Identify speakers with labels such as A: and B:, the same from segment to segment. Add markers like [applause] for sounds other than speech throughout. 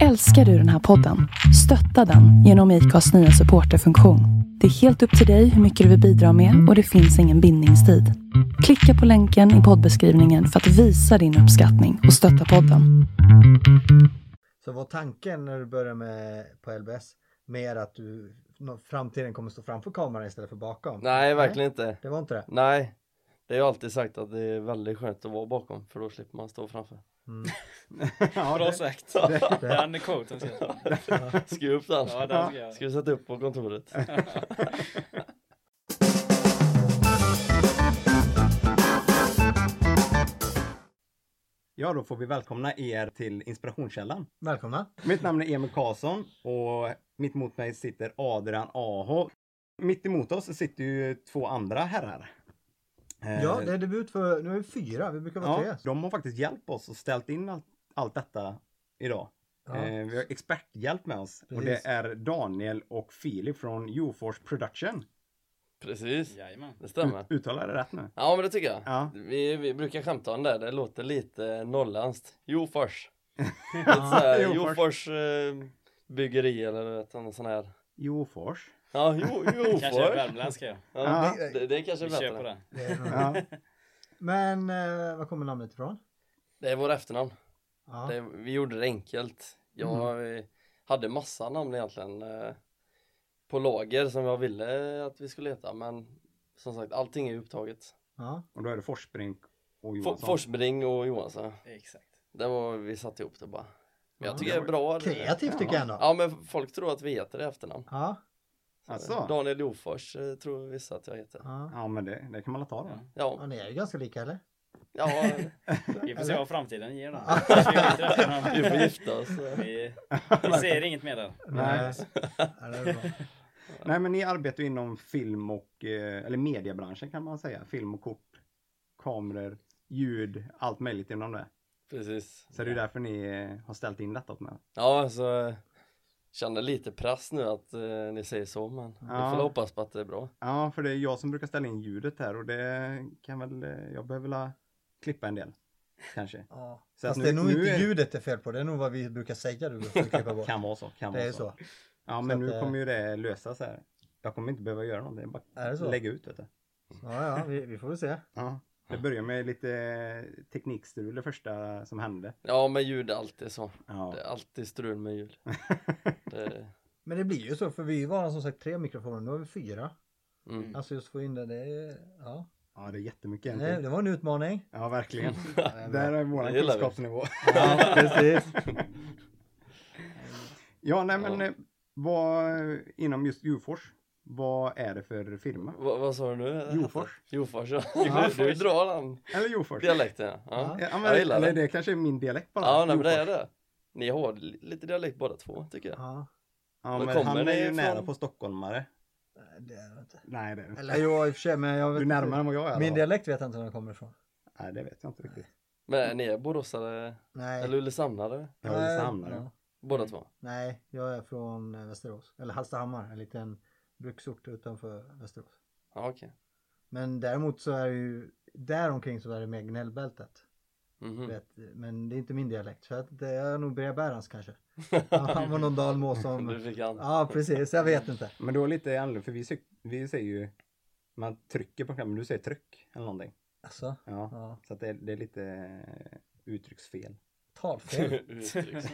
A: Älskar du den här podden? Stötta den genom IKAs nya supporterfunktion. Det är helt upp till dig hur mycket du vill bidra med och det finns ingen bindningstid. Klicka på länken i poddbeskrivningen för att visa din uppskattning och stötta podden.
B: Så var tanken när du började med på LBS mer att du nå- framtiden kommer stå framför kameran istället för bakom?
C: Nej, verkligen inte.
B: Det var inte det?
C: Nej, det har jag alltid sagt att det är väldigt skönt att vara bakom för då slipper man stå
D: [laughs]
C: framför.
B: Mm.
D: Bra sagt.
B: det- det-
D: Den quoten ska jag.
C: Skriv upp den.
D: Ja, den ska jag.
C: Ska vi sätta upp på
D: [laughs]
C: kontoret?
E: Ja, då får vi välkomna er till Inspirationskällan.
B: Välkomna!
E: Mitt namn är Emil Karlsson och mitt emot mig sitter Adrian Aho. Mitt emot oss sitter ju två andra herrar. Eh,
B: Ja, det är debut för, nu är vi fyra, vi brukar vara
E: ja,
B: tre.
E: De har faktiskt hjälpt oss och ställt in allt, allt detta idag.
B: Ja.
E: Eh, vi har experthjälp med oss och
B: Precis.
E: det är Daniel och Filip från UForce Production.
C: Precis,
D: Jajamän.
C: det stämmer.
E: Uttalar jag det rätt nu?
C: Ja, men det tycker jag.
E: Ja.
C: Vi, vi brukar skämta om det, det låter lite nollanskt. Jofors. Lite såhär,
E: Jofors.
C: Jofors eh, byggeri eller ett annat sån här.
E: UForce.
C: Ja, jo,
D: [laughs] Kanske är
C: Jofors.
D: värmländska ja.
C: Ja,
E: eh,
B: Ja.
C: det, det är kanske
D: Vi
C: är
D: kör på
C: bättre.
B: Det
D: den.
B: är nog- [laughs]
E: Ja.
B: Men eh, var kommer namnet ifrån?
C: Det är vår efternamn.
B: Ja.
C: Det, vi gjorde det enkelt. Jag eh, hade massa namn egentligen eh, på lager som jag ville att vi skulle heta men som sagt allting är upptaget.
B: Ja.
E: Och då är det Forsbrink och
C: For,
E: Johansson.
C: Forsbring och Johansson.
D: Exakt.
C: Det var vi satte ihop det bara.
B: Ja,
C: Men jag tycker
B: det
C: det är bra. det-
B: Kreativt tycker jag ändå.
C: Ja men folk tror att vi heter det i efternamn.
B: Ja.
E: Alltså.
C: Daniel Jofors eh, tror vissa att jag heter.
B: Ja.
E: Ja, men det, det kan man väl ta då.
B: ja,
C: Ja,
B: ni är ju ganska lika eller?
C: ja
D: Vi får se vad framtiden ger då.
C: [laughs] vi får gifta oss. eh, [laughs]
D: Vi, vi ser inget mer där.
E: Nej.
B: Eh, Ja, det är bra.
E: Nej, men ni arbetar ju inom film och, eh, eller mediebranschen kan man säga. Film och kort, kameror, ljud, allt möjligt inom det.
C: Precis.
E: Så det är ju därför ni eh, har ställt in detta åt mig.
C: Ja, så eh, känner lite press nu att eh, ni säger så men vi
E: Ja.
C: får väl hoppas på att det är bra.
E: Ja, för det är jag som brukar ställa in ljudet här och det kan väl, eh, jag behöver väl klippa en del. Kanske.
B: Ja.
E: Så
B: Fast
E: att
B: det är
E: nu-
B: nog
E: nu
B: inte
E: är-
B: ljudet det är fel på, det är nog vad vi brukar säga du får klippa bort.
E: Kan vara så. Kan
B: Det
E: vara
B: är så.
E: Ja, men
B: att,
E: nu
B: eh,
E: kommer ju det lösas här. Jag kommer inte behöva göra någonting, jag bara
B: Är det så?
E: lägga ut vet du.
B: Ja,
E: [laughs]
B: ja, vi, vi får väl se.
E: Ja. Det börjar med lite eh, teknikstrul det första som hände.
C: Ja, men ljud är alltid så.
E: Ja.
C: Det är alltid strul med ljud. Det,
B: Men det blir ju så, för vi var som sagt tre mikrofoner, nu har vi fyra.
C: mm.
B: Alltså just få in det, det är, ja.
E: Ja, det är jättemycket
B: Det,
E: egentligen.
B: det var en utmaning. [laughs]
E: Ja, verkligen. Där är våran
C: Det gillar vi.
E: kunskapsnivå.
B: Ja, precis.
E: Ja, nej men
C: Ja.
E: eh, vad eh, inom just Djurfors, vad är det för firma?
C: Va, vad sa du nu?
E: Jofors.
C: Jofors, ja. Du, du drar den
E: Eller Djurfors?
C: dialekten. Ja,
E: Ja, men,
C: jag gillar
E: eller
C: det.
E: det kanske är min dialekt bara.
C: ja nej, men det är
E: Djurfors.
C: det. Ni har li- lite dialekt båda två, tycker jag.
B: Ja,
E: Ja,
C: Var
E: men
C: kommer
E: han är
C: det
E: ju
C: ifrån?
E: nära på stockholmare.
B: nej, det är det inte.
E: Nej, det är det inte.
B: Eller jag i och för sig, men jag vet
E: Du är närmare än vad jag är. i alla
B: Min
E: fall.
B: dialekt vet jag inte var den kommer ifrån.
E: Nej, det vet jag inte riktigt.
C: Men ni är boråsare
B: Nej.
C: eller ulricehamnare?
E: Jag är samlare.
B: ja.
C: Båda två?
B: Nej, jag är från eh, Västerås. Eller Hallstahammar, en liten bruksort utanför Västerås.
C: Ja, okej.
B: Men däremot så är det ju däromkring så är det mer gnällbältet.
C: Mhm.
B: Vet, men det är inte min dialekt. Så att det är nog Breda Bärans
C: [laughs]
B: kanske. Ja, han var någon dalmås
C: Du
B: som...
C: fick han. [laughs]
B: Ja precis, jag vet inte.
E: Men då lite annorlunda, för vi, sy- vi säger ju, man trycker på knappen, men du säger tryck eller någonting.
B: Alltså,
E: Ja,
B: ja.
E: så att det, det är lite eh, uttrycksfel.
C: [laughs]
B: Talfel
C: Uttrycks.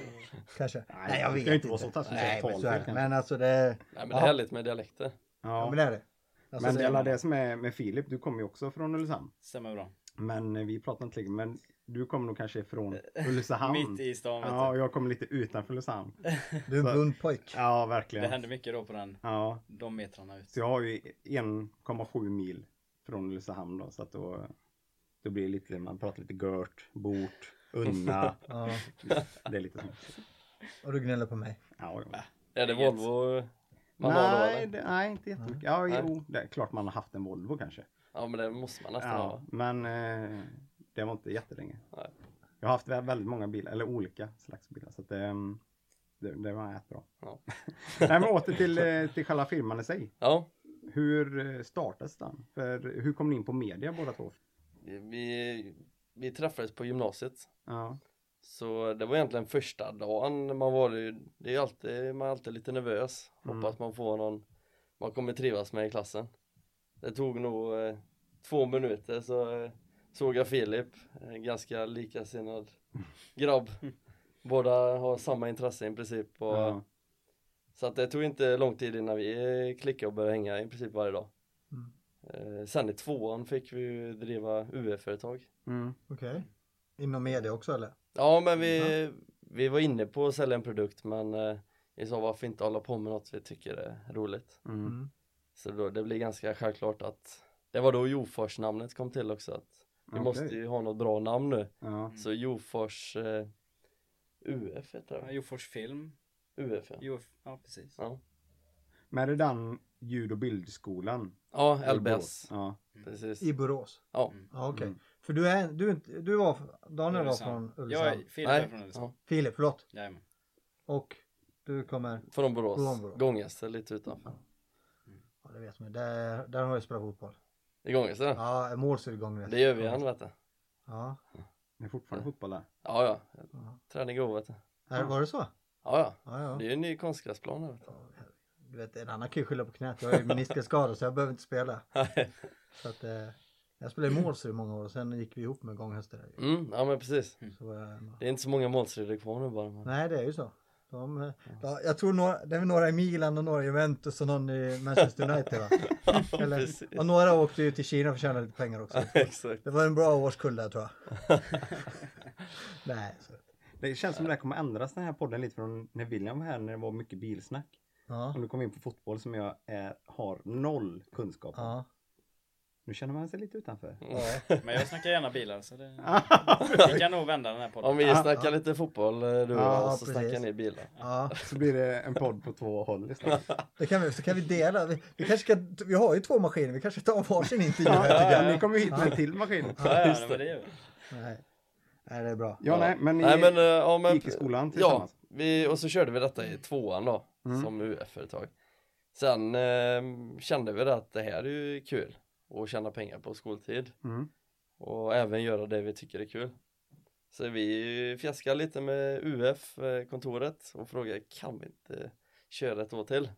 B: kanske.
E: Nej,
B: Nej, jag
E: det
B: vet
E: ska inte
B: inte.
E: vara så taskigt
B: Nej,
E: att säga
B: men, så
E: talfel
B: är det.
E: kanske.
B: men alltså det...
C: Nej, men det
B: Ja.
C: är härligt med dialekter.
B: Ja,
E: Ja,
B: men det är det. Alltså,
E: men
B: det-
E: det är alla det som är med Filip, du kommer ju också från Ulricehamn.
D: Stämmer bra.
E: Men eh, vi pratar inte länge, men du kommer nog kanske från
C: Eh,
E: Ulricehamn.
D: Mitt i stan vet
E: Ja,
D: du.
E: och jag kommer lite utanför Ulricehamn.
B: Du är en
E: så-
B: blond pojk.
E: Ja,
D: Det
E: verkligen.
D: hände mycket då på den,
E: Ja,
D: de metrarna ut.
E: så jag har ju 1,7 mil från Ulricehamn då, så att då, då blir det lite, man pratar lite gört, bort,
C: [laughs]
E: unna.
B: Ja.
E: det är lite så.
B: Och du gnäller på mig.
E: Ja, ja.
C: Är det
D: Inget.
C: Volvo man har då
E: Nej,
C: eller?
E: det, nej, inte jättemycket. Ja,
C: Nej.
E: jo, det är klart man har haft en Volvo kanske.
C: Ja, men det måste man nästan
E: Ja,
C: ha.
E: men eh, det var inte jättelänge.
C: Nej.
E: Jag har haft vä- väldigt många bilar, eller olika slags bilar. Så att, ehm, det, det var rätt bra.
C: Ja.
E: Nej, men åter till, eh, till själva firman i sig.
C: Ja.
E: Hur eh, startades den? För hur kom ni in på media båda två?
C: Vi, vi träffades på gymnasiet
E: Ja, Mm.
C: Så det var egentligen första dagen man var ju, det är ju alltid, man är alltid lite nervös.
E: Mm.
C: Hoppas man får någon man kommer trivas med i klassen. Det tog nog eh, två minuter så eh, såg jag Filip, en ganska
E: [laughs]
C: likasinnad grabb. Båda har samma intresse i princip. Och,
E: Ja.
C: Så att det tog inte lång tid innan vi eh, klickade och började hänga i princip varje dag.
B: Mm.
C: Eh, sen i tvåan fick vi ju driva UF-företag.
E: Mm.
B: Okej. Inom media också eller?
C: Ja men vi, vi var inne på att sälja en produkt men eh, vi sa varför inte hålla på med något vi tycker är roligt.
E: Mm.
B: Mm.
C: Så då, det blir ganska självklart att det var då Jofors-namnet kom till också. Att vi
E: Okej.
C: måste ju ha något bra namn nu.
E: Ja.
C: Så Jofors eh, UF heter
D: Ja,
C: det.
D: Jofors film.
C: UF ja.
D: Jof... Ja, precis.
C: Ja,
E: Men det är den ljud och bildskolan.
C: ja
E: i
C: LBS.
E: Borås. Ja.
C: Precis.
B: I Borås?
C: Ja.
B: Ja, okej.
E: Mm.
B: För du är, du, är inte- du var, Daniel var
D: Ulricehamn.
B: från
D: Jag
B: Ulricehamn.
D: är Filip är
C: Nej,
D: från Ulricehamn.
C: ja.
B: Filip, förlåt.
D: Jajamän.
B: Och du kommer,
C: Från Borås.
B: Från Borås.
C: Gångester lite utanför.
B: ja det vet man där, där har jag spelat fotboll.
C: I Gångester?
B: Ja, målsugång vet
C: Det gör vi igen vet du.
B: Ja,
E: Det är fortfarande fotboll där.
C: Ja ja.
B: Ja.
C: Träning går vet du.
B: här, var det så?
C: Ja ja.
B: Ja, ja.
C: Det är ju en ny konstgräsplan här, vet du.
B: Du vet, en annan kan ju skylla på knät. Jag har ju meniskelskada så jag behöver inte
C: [laughs]
B: spela. Så att, eh, jag spelade i målsur i många år och sen gick vi ihop med gånghästar. där ju.
C: Mm, ja men precis.
B: Så var jag-
C: Det är inte så många målstrider kvar nu bara.
E: [laughs]
C: Men...
B: Nej, det är ju så. De, eh, ja, jag tror några, det är väl några i Milan och några i Juventus och någon i Manchester United
C: [laughs]
B: va? [laughs]
C: precis.
B: Eller, och några åkte ju till Kina för att tjäna lite pengar också.
C: Exakt.
B: Det var en bra årskull där tror jag.
C: [laughs]
B: Nej, så,
E: Det känns som det här kommer ändras den här podden lite från när William var här när det var mycket bilsnack.
B: ja,
E: Om du kom in på fotboll som jag är, har noll kunskap om.
B: ja.
E: Nu känner man sig lite utanför.
C: [laughs]
D: Men jag snackar gärna bilar så det... Vi kan nog vända den här podden.
C: Om vi snackar lite fotboll eh, du och
E: Ja,
C: jag, så
B: precis.
C: snackar ni bilar.
B: ja.
E: Så blir det en podd på två håll istället.
B: Det kan vi, så kan vi dela. Vi, vi, kanske ska, vi har ju två maskiner, vi kanske tar varsin intervju.
E: Ja,
B: här.
E: ja, Ni kommer ju hit med en till maskin.
D: Ja, ja,
C: just
D: men det gör vi.
B: Nej. Nej, det är bra.
E: Ja, nej, men ni
C: Nej, men, eh, ja, men,
E: gick i skolan
C: Ja,
E: tillsammans.
C: vi, och så körde vi detta i tvåan då,
E: Mm.
C: som UF-företag. Sen eh, kände vi det att det här är ju kul att tjäna pengar på skoltid
E: Mm.
C: och även göra det vi tycker är kul. Så vi fjäskade lite med UF-kontoret och frågade kan vi inte köra ett år till?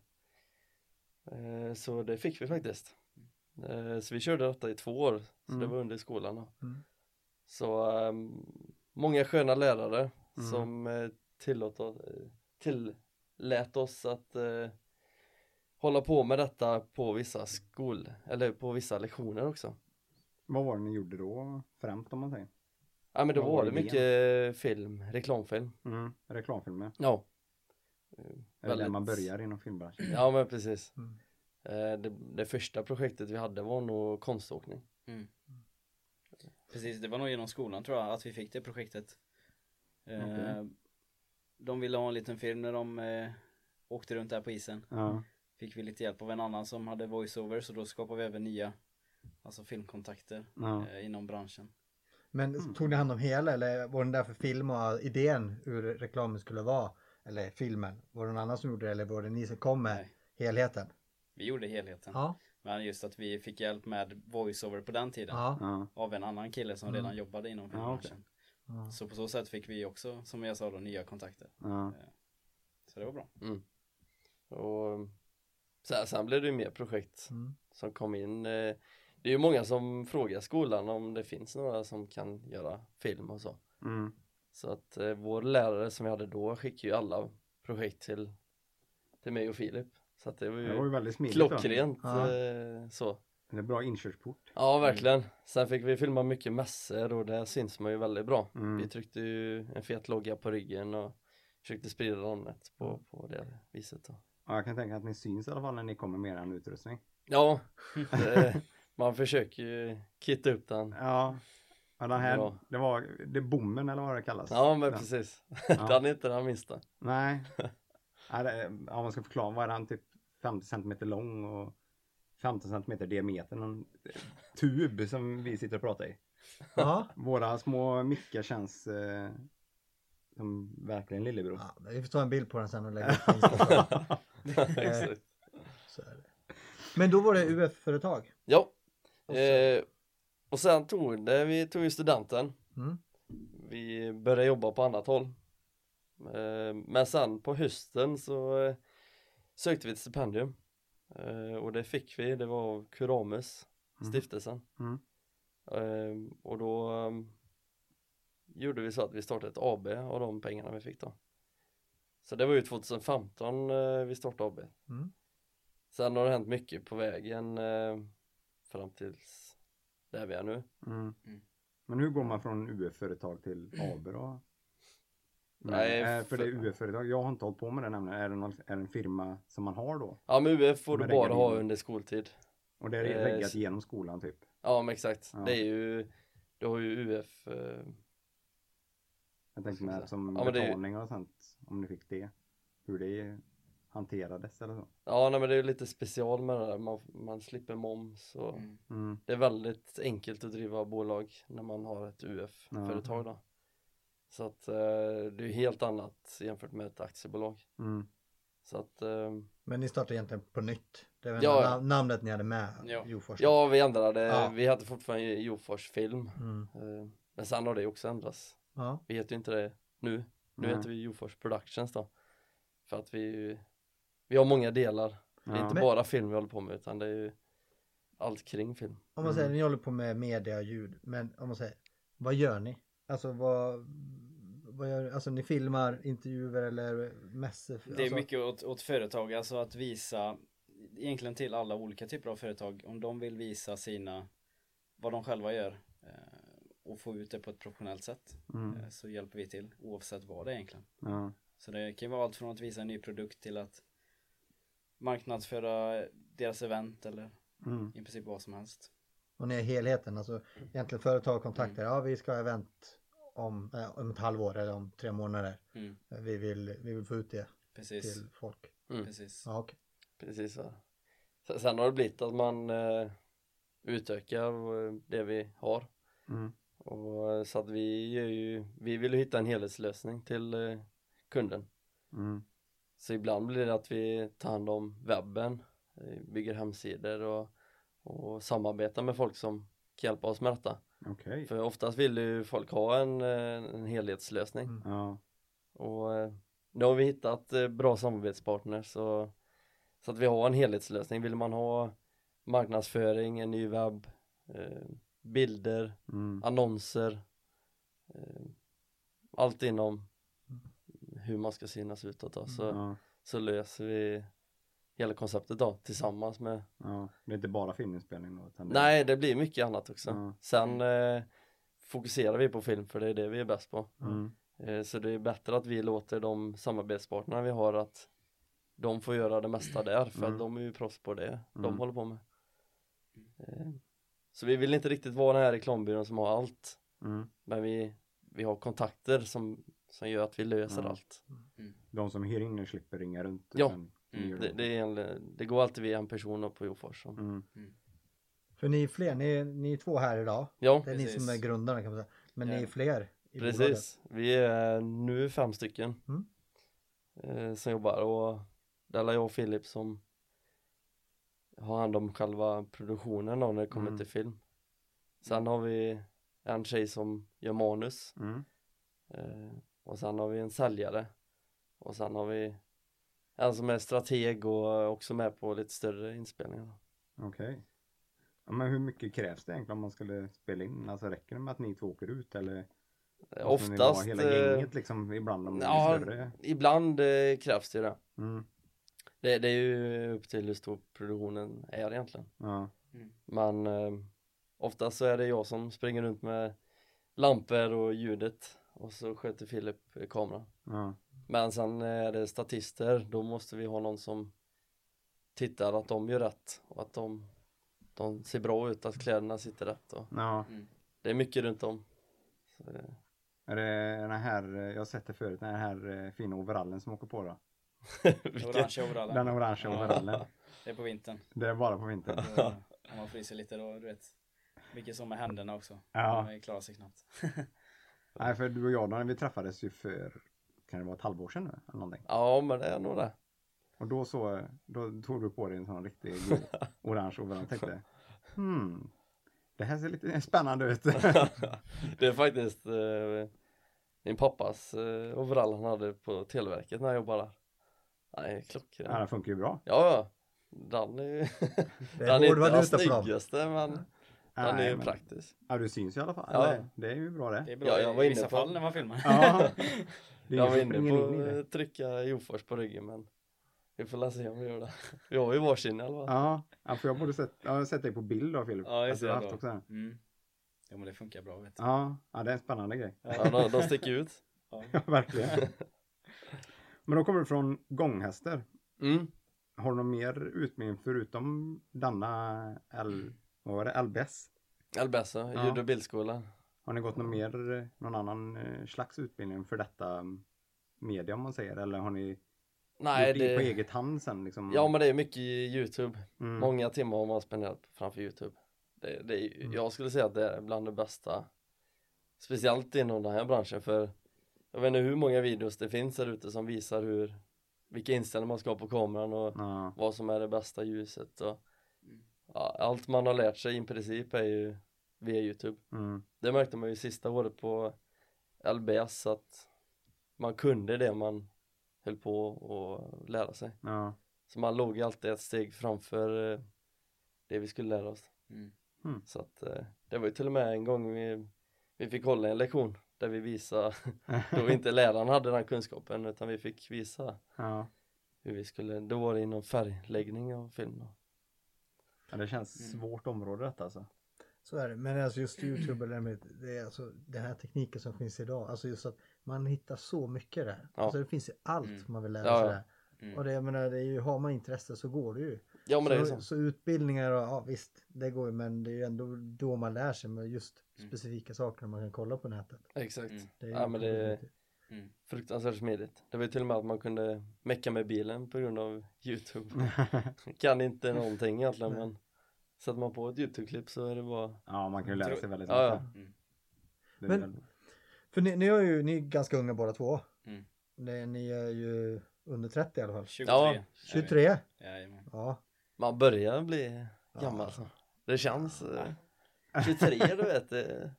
C: Eh, Så det fick vi faktiskt. Eh, Så vi körde detta i två år, så det
E: Mm.
C: var under skolan. Då.
B: Mm.
C: Så eh, många sköna lärare
E: Mm.
C: som eh, tillåt oss, eh, tillät oss att eh, hålla på med detta på vissa skol eller på vissa lektioner också.
E: Vad var det ni gjorde då? Främst om man säger.
C: Ja men då
E: Vad
C: var det
E: var idén?
C: mycket film, reklamfilm.
E: Mm. Reklamfilmer.
C: Ja,
E: Det är där
C: Väldigt-
E: man börjar inom filmbranschen.
C: ja men precis.
B: Mm.
C: Eh, Det, det första projektet vi hade var nog konståkning.
D: Precis, det var nog genom skolan tror jag att vi fick det projektet. Eh,
E: Okej.
D: De ville ha en liten film när de eh, åkte runt där på isen.
C: Mm.
E: Ja.
D: Fick vi lite hjälp av en annan som hade voiceover så då skapade vi även nya alltså filmkontakter
E: Ja.
D: eh, inom branschen.
B: Men tog ni hand om hela eller var den där för film och idén hur reklamen skulle vara? Eller filmen? Var det någon annan som gjorde det eller var det ni som kom med
D: Nej.
B: helheten?
D: Vi gjorde helheten.
B: Ja.
D: Men just att vi fick hjälp med voiceover på den tiden.
B: ja.
E: Ja.
D: Av en annan kille som
B: Mm.
D: redan jobbade inom
E: Ja,
D: filmbranschen.
B: Ja.
D: Så på så sätt fick vi också, som jag sa då, nya kontakter.
E: Ja.
D: Så det var bra.
C: Och sen, sen blev det ju mer projekt
B: Mm.
C: som kom in. eh, Det är ju många som frågar skolan om det finns några som kan göra film och så.
E: Mm.
C: Så att eh, vår lärare som vi hade då skickade ju alla projekt till, till mig och Filip. Så att det var ju,
E: Det var ju väldigt smidigt. då.
C: klockrent
B: Ja.
C: eh, så.
E: Det är bra inkörsport.
C: Ja, verkligen. Sen fick vi filma mycket mässor och där syns man ju väldigt bra.
E: Mm.
C: Vi tryckte ju en fet logga på ryggen och försökte sprida namnet på, på det viset. Då.
E: Ja, jag kan tänka att ni syns i alla fall när ni kommer med er utrustning.
C: Ja, det, man försöker ju kitta upp den.
E: Ja. ja den här,
C: Bra.
E: det var det är bommen eller vad det kallas.
C: Ja, men
E: Den.
C: precis. [laughs]
E: Ja.
C: Den är inte den minsta.
E: Nej. ja, det, om man ska förklara, vad är den? Typ 50 centimeter lång och 15 centimeter diameter. Någon tub som vi sitter och pratar i.
B: Ja.
E: Våra små mickar känns eh, som verkligen lillebror.
B: ja. men Vi får ta en bild på den sen och lägga upp på Instagram.
C: Exakt.
B: Så är det. Men då var det UF-företag.
C: [laughs] ja,
B: Och sen-
C: eh, och sen tog det, vi tog ju studenten.
B: Mm.
C: vi började jobba på annat håll. Eh, Men sen på hösten så eh, sökte vi ett stipendium Eh, och det fick vi, det var av Kuramus,
E: Mhm.
C: stiftelsen.
E: Mm.
C: Eh, Och då eh, gjorde vi så att vi startade ett AB av de pengarna vi fick då. Så det var ju 2015 eh, vi startade AB.
B: Mm.
C: Sen har det hänt mycket på vägen eh, fram tills där vi är nu.
E: Mm.
D: Mm.
E: Men hur går man från UF-företag till AB då? Men,
C: Nej,
E: eh, för det är
C: för-
E: UF-företag. Jag har inte hållit på med det nämligen. Är det, någon, är det en firma som man har då?
C: Ja men UF får du
E: Men
C: bara
E: reggar
C: ha
E: in.
C: under skoltid.
E: Och det är
C: Eh,
E: reggat
C: s-
E: genom skolan typ?
C: Ja men exakt,
E: Ja.
C: det är ju, du har ju UF, eh,
E: Jag tänkte
C: ska vi
E: med
C: säga?
E: som
C: Ja, men det är ju-
E: betalning och sånt. Om ni fick det. Hur det hanterades eller så.
C: ja nej, men det är ju lite special med det där, man, man slipper moms och
D: Mm.
E: Mm.
C: det är väldigt enkelt att driva bolag när man har ett UF-företag då. Så att eh, det är ju helt annat jämfört med ett aktiebolag.
E: Mm.
C: Så att eh,
B: Men ni startade egentligen på nytt. Det var
C: Ja.
B: ja. namnet ni hade med.
D: Ja.
B: Jofors.
C: ja vi ändrade,
B: Ja.
C: vi hade fortfarande Jofors film,
B: Mm.
C: eh, men sen har det också ändrats.
B: ja.
C: Vi heter ju inte det nu. Nu
E: Nej.
C: heter vi Jofors Productions då. För att vi, vi har många delar. Det är
E: Ja.
C: inte
B: Men-
C: bara film vi håller på med utan det är ju allt kring film.
B: Om man säger,
D: Mm.
B: ni håller på med media och ljud. Men om man säger, vad gör ni? Alltså vad, vad gör Alltså ni filmar intervjuer eller mässor? Alltså,
D: Det är mycket åt, åt företag, alltså att visa egentligen till alla olika typer av företag om de vill visa sina vad de själva gör eh, och få ut det på ett professionellt sätt
E: Mm.
D: eh, så hjälper vi till oavsett vad det är egentligen.
E: Ja.
D: Så det kan ju vara allt från att visa en ny produkt till att marknadsföra deras event eller
E: Mm.
D: i princip vad som helst.
B: Och ni är helheten. Alltså egentligen företag kontaktar.
D: Mm.
B: Ja, vi ska ha event om, eh, om ett halvår eller om tre månader.
D: Mm.
B: Vi vill, vi vill få ut det
D: Precis,
B: till folk.
D: precis.
B: Ja, okej.
C: Precis så. Sen- Sen har det blivit att man eh, utökar eh, det vi har.
E: Mm.
C: Och, eh, så att vi, gör ju, vi vill ju hitta en helhetslösning till eh, kunden.
E: Mm.
C: Så ibland blir det att vi tar hand om webben, eh, bygger hemsidor och, och samarbetar med folk som kan hjälpa oss med detta.
E: Okej.
C: För oftast vill ju folk ha en, eh, en helhetslösning
B: Mm.
E: Ja.
C: och eh, nu har vi hittat eh, bra samarbetspartners så, så att vi har en helhetslösning. Vill man ha marknadsföring, en ny webb, eh, bilder,
E: Mm.
C: annonser, eh, allt inom hur man ska synas utåt då, så,
E: Mm, Ja.
C: så löser vi hela konceptet då tillsammans med
E: Ja. Det är inte bara filminspelning då? Utan det...
C: Nej, det blir mycket annat också.
E: Ja.
C: Sen eh, fokuserar vi på film för det är det vi är bäst på.
E: Mm.
C: Eh, så det är bättre att vi låter de samarbetspartnerna vi har att de får göra det mesta där för
E: Mm.
C: att de är ju proffs på det de
E: Mm.
C: håller på med. Eh, så vi vill inte riktigt vara den här reklambyrån som har allt
E: Mm.
C: men vi, vi har kontakter som, som gör att vi löser
E: Ja.
C: allt.
E: De som hyr in er slipper ringa runt?
C: Ja.
E: utan ni
D: Mm.
E: gör
C: Det, det, är en, det går alltid via en person uppe på Jofors. som-
E: Mm.
B: För ni är fler, ni är, ni är två här idag.
C: Ja,
B: Det är ni
D: Precis.
B: som är grundarna kan man säga. Men
D: Ja.
B: ni är fler. I bolaget.
C: Precis, vi är nu fem stycken
B: Mm.
C: eh, som jobbar och det är jag och Filip som har hand om själva produktionen då när det kommer
E: Mm.
C: till film. Sen har vi en tjej som gör manus
E: Mm.
C: eh, och sen har vi en säljare och sen har vi en som är strateg och också med på lite större inspelningar. då.
E: Okej. Ja, men hur mycket krävs det egentligen om man skulle spela in? Alltså räcker det med att ni två åker ut eller?
C: Eh,
E: måste ni vara
C: Oftast,
E: Hela
C: eh,
E: gänget liksom ibland om det
C: ja.
E: är större?
C: ibland eh, krävs det ju det.
E: Mm.
C: det. Det är ju upp till hur stor produktionen är egentligen.
E: Ja.
C: Men eh, oftast så är det jag som springer runt med lampor och ljudet och så sköter Filip eh, kameran.
E: Ja.
C: Men sen är det statister, då måste vi ha någon som tittar att de gör rätt och att de, de ser bra ut, att kläderna sitter rätt. Och
E: ja.
C: det är mycket runt om. Så, eh,
E: Är det den här, eh, jag har sett det förut, den här eh, fina overallen som åker på då?
C: [laughs] vilket,
D: Orange overallen.
E: Den orangea
D: Ja.
E: overallen.
D: Det är på vintern.
E: Det är bara på vintern.
D: Då, om man fryser lite då, du vet. Mycket som med händerna också.
E: Ja.
D: De klarar sig knappt.
E: Nej för du och jag då, när vi träffades ju för, kan det vara ett halvår sedan nu? Eller någonting.
C: ja, men det är nog det.
E: Och då så, eh, då tog du på dig en sån riktig grå, orange overall och tänkte hmm, det här ser lite spännande ut.
C: det är faktiskt eh, Min pappas eh, overall han hade på Televerket när jag jobbade där. Han är klockren.
E: Ja, den funkar ju bra.
C: Ja, ja. Den är, [laughs]
B: Det
C: den
B: är
C: är
B: hård
C: inte den
B: valuta för dem.
C: snyggaste men den är
E: Nej,
C: ju
E: men-
C: praktisk.
E: Ja, du syns i alla fall.
C: Ja.
E: Det, det är ju bra det.
D: Det är bra
C: Ja, jag
D: i
C: var inne
D: vissa
C: på-
D: fall när man filmar.
E: Ja, det
C: Jag
E: är ingen
C: var
E: som
C: inne
E: springer
C: på
E: in i det.
C: att trycka Jofors på ryggen men vi får väl se om vi gör det. [laughs] Vi har ju varsin i alla fall.
E: Ja, ja, för jag borde sett, ja, jag har sett dig på bild då Filip.
D: Ja,
E: Att
D: just
E: du har
D: det.
E: haft också den.
D: då. Mm. Ja, men det funkar bra vet du.
E: Ja, ja, det är en spännande grej. [laughs]
C: Ja, de, de sticker ut.
E: Ja,
C: [laughs]
E: verkligen. Men då kommer du från gånghästar.
C: Mm.
E: Har du någon mer utbildning förutom denna L... Vad var det? LBS?
C: Elbessa,
E: Ja.
C: ljud och bildskolan.
E: Har ni gått någon mer, eh, någon annan eh, slags utbildning för detta mm, media om man säger? Eller har ni
C: Nej,
E: gjort det på
C: det,
E: eget hand sen liksom?
C: ja men det är mycket Youtube.
E: mm.
C: Många timmar har man spenderat framför Youtube. Det, det är,
E: Mm.
C: Jag skulle säga att det är bland det bästa. Speciellt inom den här branschen för jag vet inte hur många videos det finns där ute som visar hur vilka inställningar man ska ha på kameran och
E: Ja,
C: vad som är det bästa ljuset och
D: Mm.
C: ja, allt man har lärt sig i princip är ju via Youtube.
E: mm,
C: Det märkte man ju sista året på LBS att man kunde det man höll på att lära sig.
E: ja.
C: Så man låg ju alltid ett steg framför eh, det vi skulle lära oss.
D: Mm.
E: Mm.
C: Så att eh, det var ju till och med en gång vi, vi fick hålla en lektion där vi visade, då inte läraren hade den kunskapen utan vi fick visa
E: ja.
C: hur vi skulle, då var det inom färgläggning av film.
E: Ja, det känns
D: Mm.
E: svårt område
C: [laughs]
E: detta alltså.
B: Så är det. Men alltså just Youtube, eller med- det är alltså den här tekniken som finns idag. Alltså just att man hittar så mycket där.
C: Ja.
B: Alltså det finns ju allt
D: Mm.
B: man vill lära
C: Ja,
B: sig
C: ja.
B: där.
D: Mm.
B: Och det, jag menar, det är ju, har man intresse så går det ju.
C: Ja men det är ju
B: så,
C: så.
B: så utbildningar, och, ja visst, det går ju men det är ju ändå då man lär sig med just specifika saker man kan kolla på nätet.
C: Exakt.
D: Mm.
B: Det är ju
C: Mm. Ja men det är
B: otroligt.
D: Mm.
C: fruktansvärt smidigt. Det var ju till och med att man kunde mecka med bilen på grund av Youtube. kan inte någonting egentligen men sätter man på ett Youtube-klipp så är det bara
E: ja, man kan ju lära
D: Tror-
E: sig väldigt
C: Ja, ja.
E: mycket.
D: Mm.
E: Det är
B: Men-
E: väl-
B: För ni, ni, är ju, ni är ganska unga båda två.
D: Mm.
B: Ni, ni är ju under 30 i alla fall.
D: 23.
C: Ja,
D: är vi.
B: 23?
D: Jajamän.
B: Ja.
C: Man börjar bli
B: Ja.
C: gammal alltså. så. Det känns eh, 23 du vet
B: [laughs]
C: eh, det-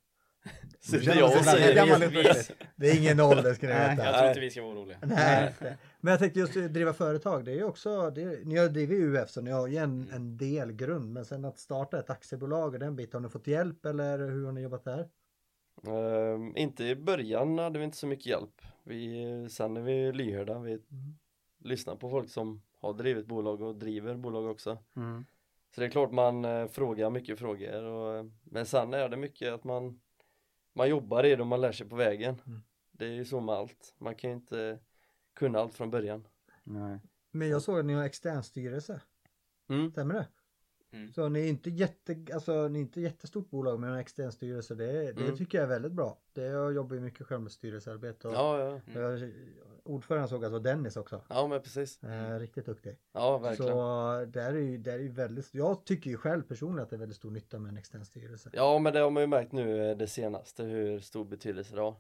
C: Sitter
B: känner
C: jag
B: sig
C: och
B: bland
C: säger
B: gammal
C: det.
B: ut. Det är
C: [laughs]
B: ingen ålder ska ni
E: Nej.
B: veta.
D: Jag tror inte vi ska vara oroliga.
B: Nej. Men jag tänkte just driva företag, det är ju också, det är, ni har drivit UF så ni har ju en,
C: Mm.
B: en del grund men sen att starta ett aktiebolag och den biten, har ni fått hjälp eller hur har ni jobbat där?
C: Ehm, inte i början hade vi inte så mycket hjälp. Vi, sen är vi lyhörda. Vi
B: Mm.
C: lyssnar på folk som har drivit bolag och driver bolag också.
E: Mm.
C: Så det är klart man eh, frågar mycket frågor och, eh, men sen är det mycket att man man jobbar i det och man lär sig på vägen.
B: Mm.
C: Det är ju så med allt. Man kan ju inte kunna allt från början.
E: Nej.
B: Men jag såg att ni har extern styrelse,
C: Mm.
B: stämmer det?
D: Mm.
B: Så ni är inte jätte, alltså ni är inte jättestort bolag men en extern styrelse det, det
C: Mm.
B: tycker jag är väldigt bra. Det, jag jobbar ju mycket själv med styrelsearbete och
C: Ja, ja.
B: och jag, ordföranden såg att det var Dennis också.
C: ja, men precis.
B: Eh, riktigt duktig.
C: Ja, verkligen.
B: Så där är ju, där är ju väldigt, jag tycker ju själv personligen att det är väldigt stor nytta med en extern styrelse.
C: Ja, men det har man ju märkt nu eh, det senaste hur stor betydelse det har.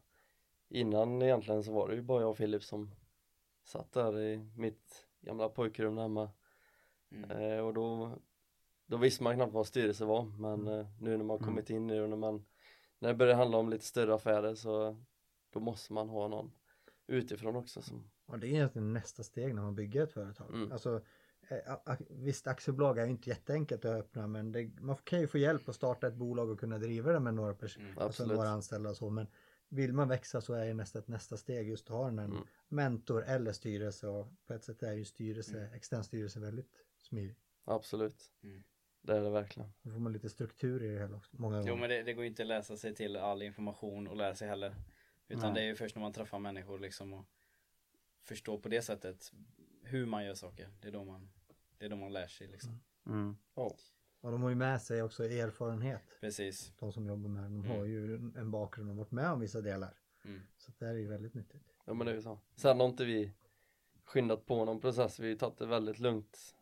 C: Innan egentligen så var det ju bara jag och Filip som satt där i mitt gamla pojkrum hemma
D: Mm.
C: eh, och då, då visste man knappt vad styrelse var men eh, nu när man har kommit in nu och när man när det börjar handla om lite större affärer så då måste man ha någon utifrån också som
B: Och det är egentligen nästa steg när man bygger ett företag.
C: Mm.
B: Alltså, eh, a- a- visst, aktiebolag är ju inte jätteenkelt att öppna men det, man kan ju få hjälp att starta ett bolag och kunna driva det med några personer,
D: Mm.
B: alltså
C: absolut.
B: några anställda och så. Men vill man växa så är ju nästa, ett nästa steg just att ha en
C: Mm.
B: mentor eller styrelse och på ett sätt är ju styrelse,
D: Mm.
B: extern styrelse väldigt smidig.
C: Absolut.
D: Mm.
C: Det är det verkligen.
B: Då får man lite struktur i det hela också, många gånger.
D: Jo men det, det går ju inte att läsa sig till all information och lära sig heller. Utan
E: Nej.
D: det är ju först när man träffar människor liksom och förstår på det sättet hur man gör saker. Det är då man, det är då man lär sig liksom.
E: Mm.
B: Och de har ju med sig också erfarenhet.
D: Precis.
B: De som jobbar med det, de
D: Mm.
B: har ju en- en bakgrund och varit med om vissa delar.
D: Mm.
B: Så det här är ju väldigt nyttigt.
C: Ja men det är ju så. Sen har inte vi skyndat på någon process. Vi har ju tagit det väldigt lugnt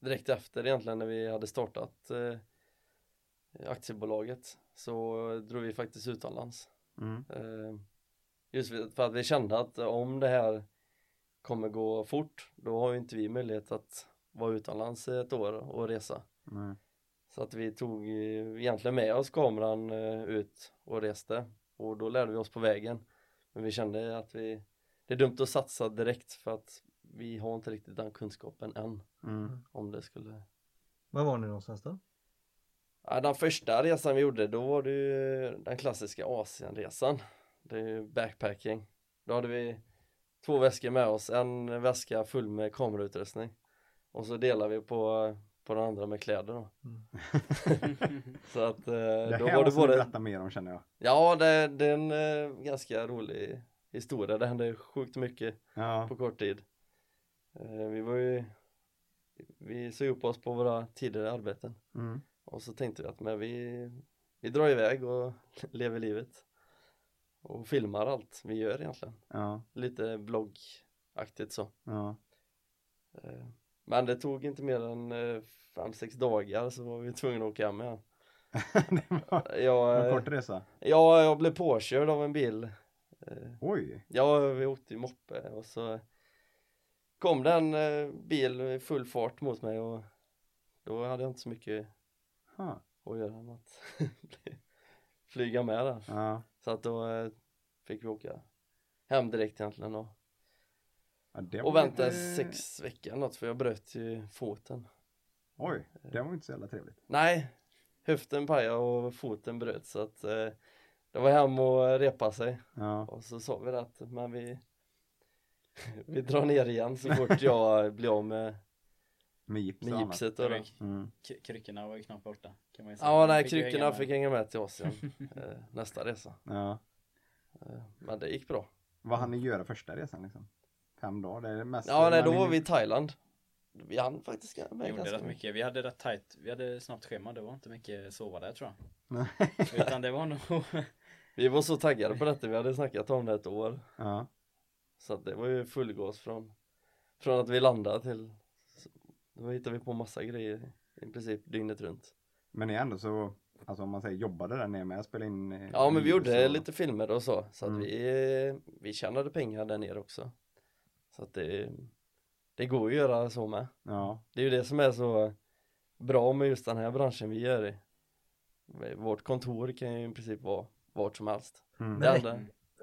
C: direkt efter egentligen när vi hade startat eh, aktiebolaget så drog vi faktiskt utomlands.
E: Mm.
C: Eh, just för att vi kände att om det här kommer gå fort då har ju inte vi möjlighet att vara utomlands i ett år och resa.
E: Nej.
C: Så att vi tog eh, egentligen med oss kameran eh, ut och reste och då lärde vi oss på vägen. Men vi kände att vi, det är dumt att satsa direkt för att vi har inte riktigt den kunskapen än
E: Mm.
C: om det skulle
B: Var var ni någonstans då?
C: Ja, den första resan vi gjorde då var det ju eh, den klassiska Asienresan. Det är ju backpacking. Då hade vi två väskor med oss, en väska full med kamerautrustning och så delade vi på, på den andra med kläder då.
B: Mm.
C: Så att eh,
E: Det
C: då
E: här
C: var det
E: måste ni
C: både,
E: berätta mer om känner jag.
C: ja det, det är en eh, ganska rolig historia, det hände sjukt mycket
E: Ja.
C: på kort tid. Eh, vi var ju, vi såg upp oss på våra tidigare arbeten.
E: Mm.
C: Och så tänkte vi att men vi, vi drar iväg och [laughs] lever livet och filmar allt vi gör egentligen.
E: Ja.
C: Lite bloggaktigt så.
E: Ja.
C: Eh, Men det tog inte mer än 5-6 dagar så var vi tvungna att åka hem igen.
E: [laughs] det var
C: Jag,
E: en
C: eh,
E: kort resa.
C: ja, jag blev påkörd av en bil. Eh,
E: Oj.
C: Ja, vi åkte i moppe och så kom det en eh, bil i full fart mot mig och då hade jag inte så mycket
E: Ha.
C: att göra än att [laughs] bli- flyga med där.
E: Ja.
C: Så att då eh, fick vi åka hem direkt egentligen och,
E: Ja, det
C: och
E: var
C: vänta
E: lite-
C: sex veckor eller något för jag bröt ju foten.
E: Oj, det var inte så jävla trevligt.
C: Nej, höften pajade och foten bröt så att eh, det var hem och repa sig
E: Ja.
C: och så sa vi det att men vi [laughs] vi drar ner igen så fort jag blir av med,
E: Med gips
C: med
E: och annat.
C: gipset och det.
E: Mm.
D: K- kryckorna var ju knappt borta kan man ju säga.
C: Ja,
D: De
C: nej,
D: fick ju hänga
C: kryckorna
D: med.
C: fick hänga med till Asien eh, nästa resa.
E: Ja.
C: Eh, men det gick bra.
E: Vad hann ni göra första resan liksom? Fem dagar? Det är det mest
C: Ja, nej, då
E: men
C: var
E: ni-
C: vi i Thailand. Vi hann faktiskt
D: Vi
C: med
D: gjorde
C: ganska
D: rätt
C: mycket.
D: mycket. Vi hade rätt tajt, vi hade snabbt schema. Det var inte mycket sova där tror
E: Nej.
D: jag. Utan det var nog
E: [laughs]
C: Vi var så taggade på detta, vi hade snackat om det ett år.
E: Ja.
C: Så att det var ju full gas från, från att vi landade till då hittade vi på massa grejer i princip dygnet runt.
E: Men ni är ändå så, alltså om man säger jobbade där nere med att spela in eh,
C: Ja men vi
E: videos
C: gjorde
E: och-
C: lite filmer och så, så att
E: Mm.
C: vi, vi tjänade pengar där nere också. Så att det, det går ju att göra så med.
E: Ja.
C: Det är ju det som är så bra med just den här branschen vi gör i. Vårt kontor kan ju i princip vara vart som helst.
E: Mm.
C: Det enda,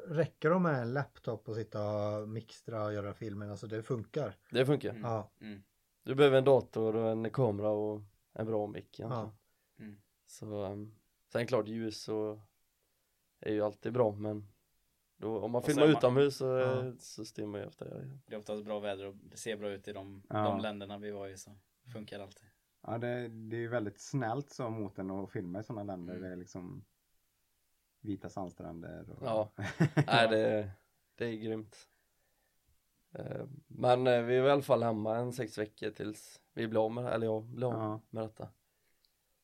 B: Räcker de med en laptop och sitta och mixtra och göra filmen? Alltså det funkar.
C: det funkar.
D: Mm.
B: Ja.
D: mm.
C: Du behöver en dator och en kamera och en bra mick egentligen.
D: Mm.
C: Så um, sen klart ljus så är ju alltid bra men då, om man
D: Och
C: filmar
D: sen man-
C: utomhus så,
B: Ja.
C: så styr man ju efter det.
D: Det är oftast bra väder och det ser bra ut i de,
E: Ja.
D: de länderna vi var i så funkar alltid.
E: Ja, det, det är ju väldigt snällt så mot en att filma i sådana länder.
D: Mm.
E: Det är liksom vita sandstränder. Och...
C: Ja, [laughs] nej det, det är grymt. Eh, Men eh, vi var i alla fall hemma en sex veckor tills vi blev av med det, eller jag blev av
E: Ja. Mm.
C: med detta.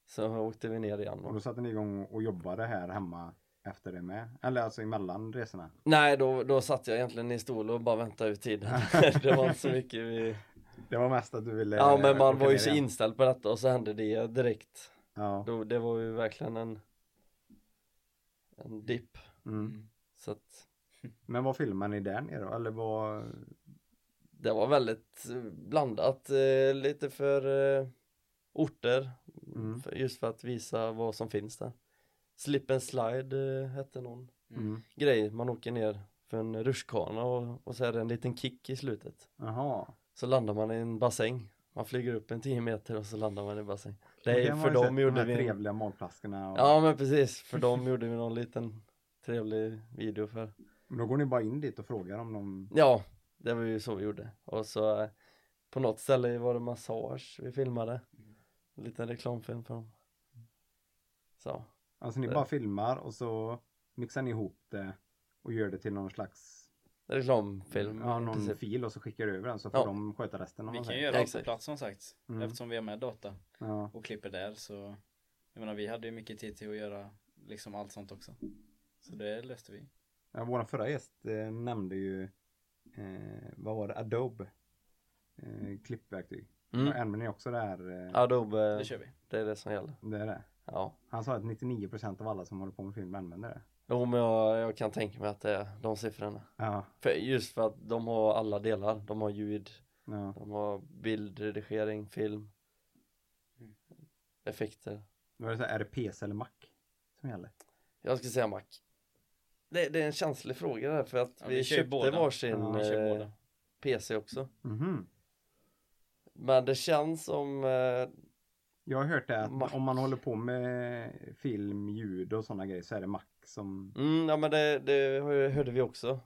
C: Så åkte vi ner igen.
E: Och
C: Och,
E: då satte ni igång och jobbade här hemma efter det med. Eller alltså emellan resorna.
C: nej, då, då satt jag egentligen i stol och bara väntade ut tiden. [laughs] det var inte så mycket vi
E: Det var mest att du ville
C: Ja men man
E: åka
C: var ju
E: ner
C: så
E: igen.
C: inställd på detta och så hände det direkt
E: Ja.
C: Då, Det var ju verkligen en En dipp
E: Mm.
C: Så att
E: Men vad filmar ni där nere då? Eller vad?
C: Det var väldigt eh, blandat eh, Lite för eh, Orter
E: Mm.
C: för, Just för att visa vad som finns där Slip and slide eh, hette någon
E: Mm.
C: grej Man åker ner för en rutschkana och, och så är det en liten kick i slutet
E: Jaha.
C: Så landar man i en bassäng Man flyger upp en 10 meter och så landar man i en bassäng
E: Och
C: Det
E: det
C: är
E: har
C: för
E: man ju sett,
C: dem
E: De
C: gjorde
E: här
C: vi en-
E: trevliga matflaskorna. Och...
C: Ja men precis, för dem gjorde vi någon liten trevlig video för
E: Men Då går ni bara in dit och frågar om de...
C: Ja, det var ju så vi gjorde och så eh, på något ställe var det massage vi filmade en liten reklamfilm för dem Så,
E: Alltså ni
C: Det-
E: bara filmar och så mixar ni ihop det och gör det till någon slags
C: reklamfilm
E: ja,
C: i
E: någon
C: princip.
E: fil och så skickar du över den så får
C: Ja.
E: de sköta resten. Om
D: Vi
E: man
D: kan
E: säger.
D: göra allt på
C: Exakt.
D: plats som sagt.
E: Mm.
D: Eftersom vi har med data
E: Ja.
D: och klipper där så Jag menar vi hade ju mycket tid till att göra liksom allt sånt också. Så det löste vi.
E: Ja, Vår förra gäst eh, nämnde ju, eh, vad var det, Adobe eh, klippverktyg. Mm.
C: mm.
E: Använder ni också det här? Eh,
C: Adobe,
D: Det kör vi.
C: det är det som gäller
E: det är det.
C: Ja,
E: Han sa att 99% av alla som håller på med film använder det.
C: jo men jag, jag kan tänka mig att det är de siffrorna
E: Ja,
C: för, Just för att de har alla delar, de har ljud,
E: ja.
C: de har bildredigering, film
D: Mm.
C: Effekter
E: Då är det så här, är det PC eller Mac som gäller?
C: Jag ska säga Mac Det, det är en känslig fråga där för att
D: Ja,
C: vi,
D: vi kör ju
C: köpte
D: båda.
C: varsin
E: Ja,
D: Vi kör
C: eh,
D: båda.
C: PC också.
E: Mhm.
C: Men det känns som eh,
E: Jag har hört det att
C: Mac.
E: om man håller på med film, ljud och sådana grejer så är det Mac som...
C: Mm, ja men det, det hör- hörde vi också.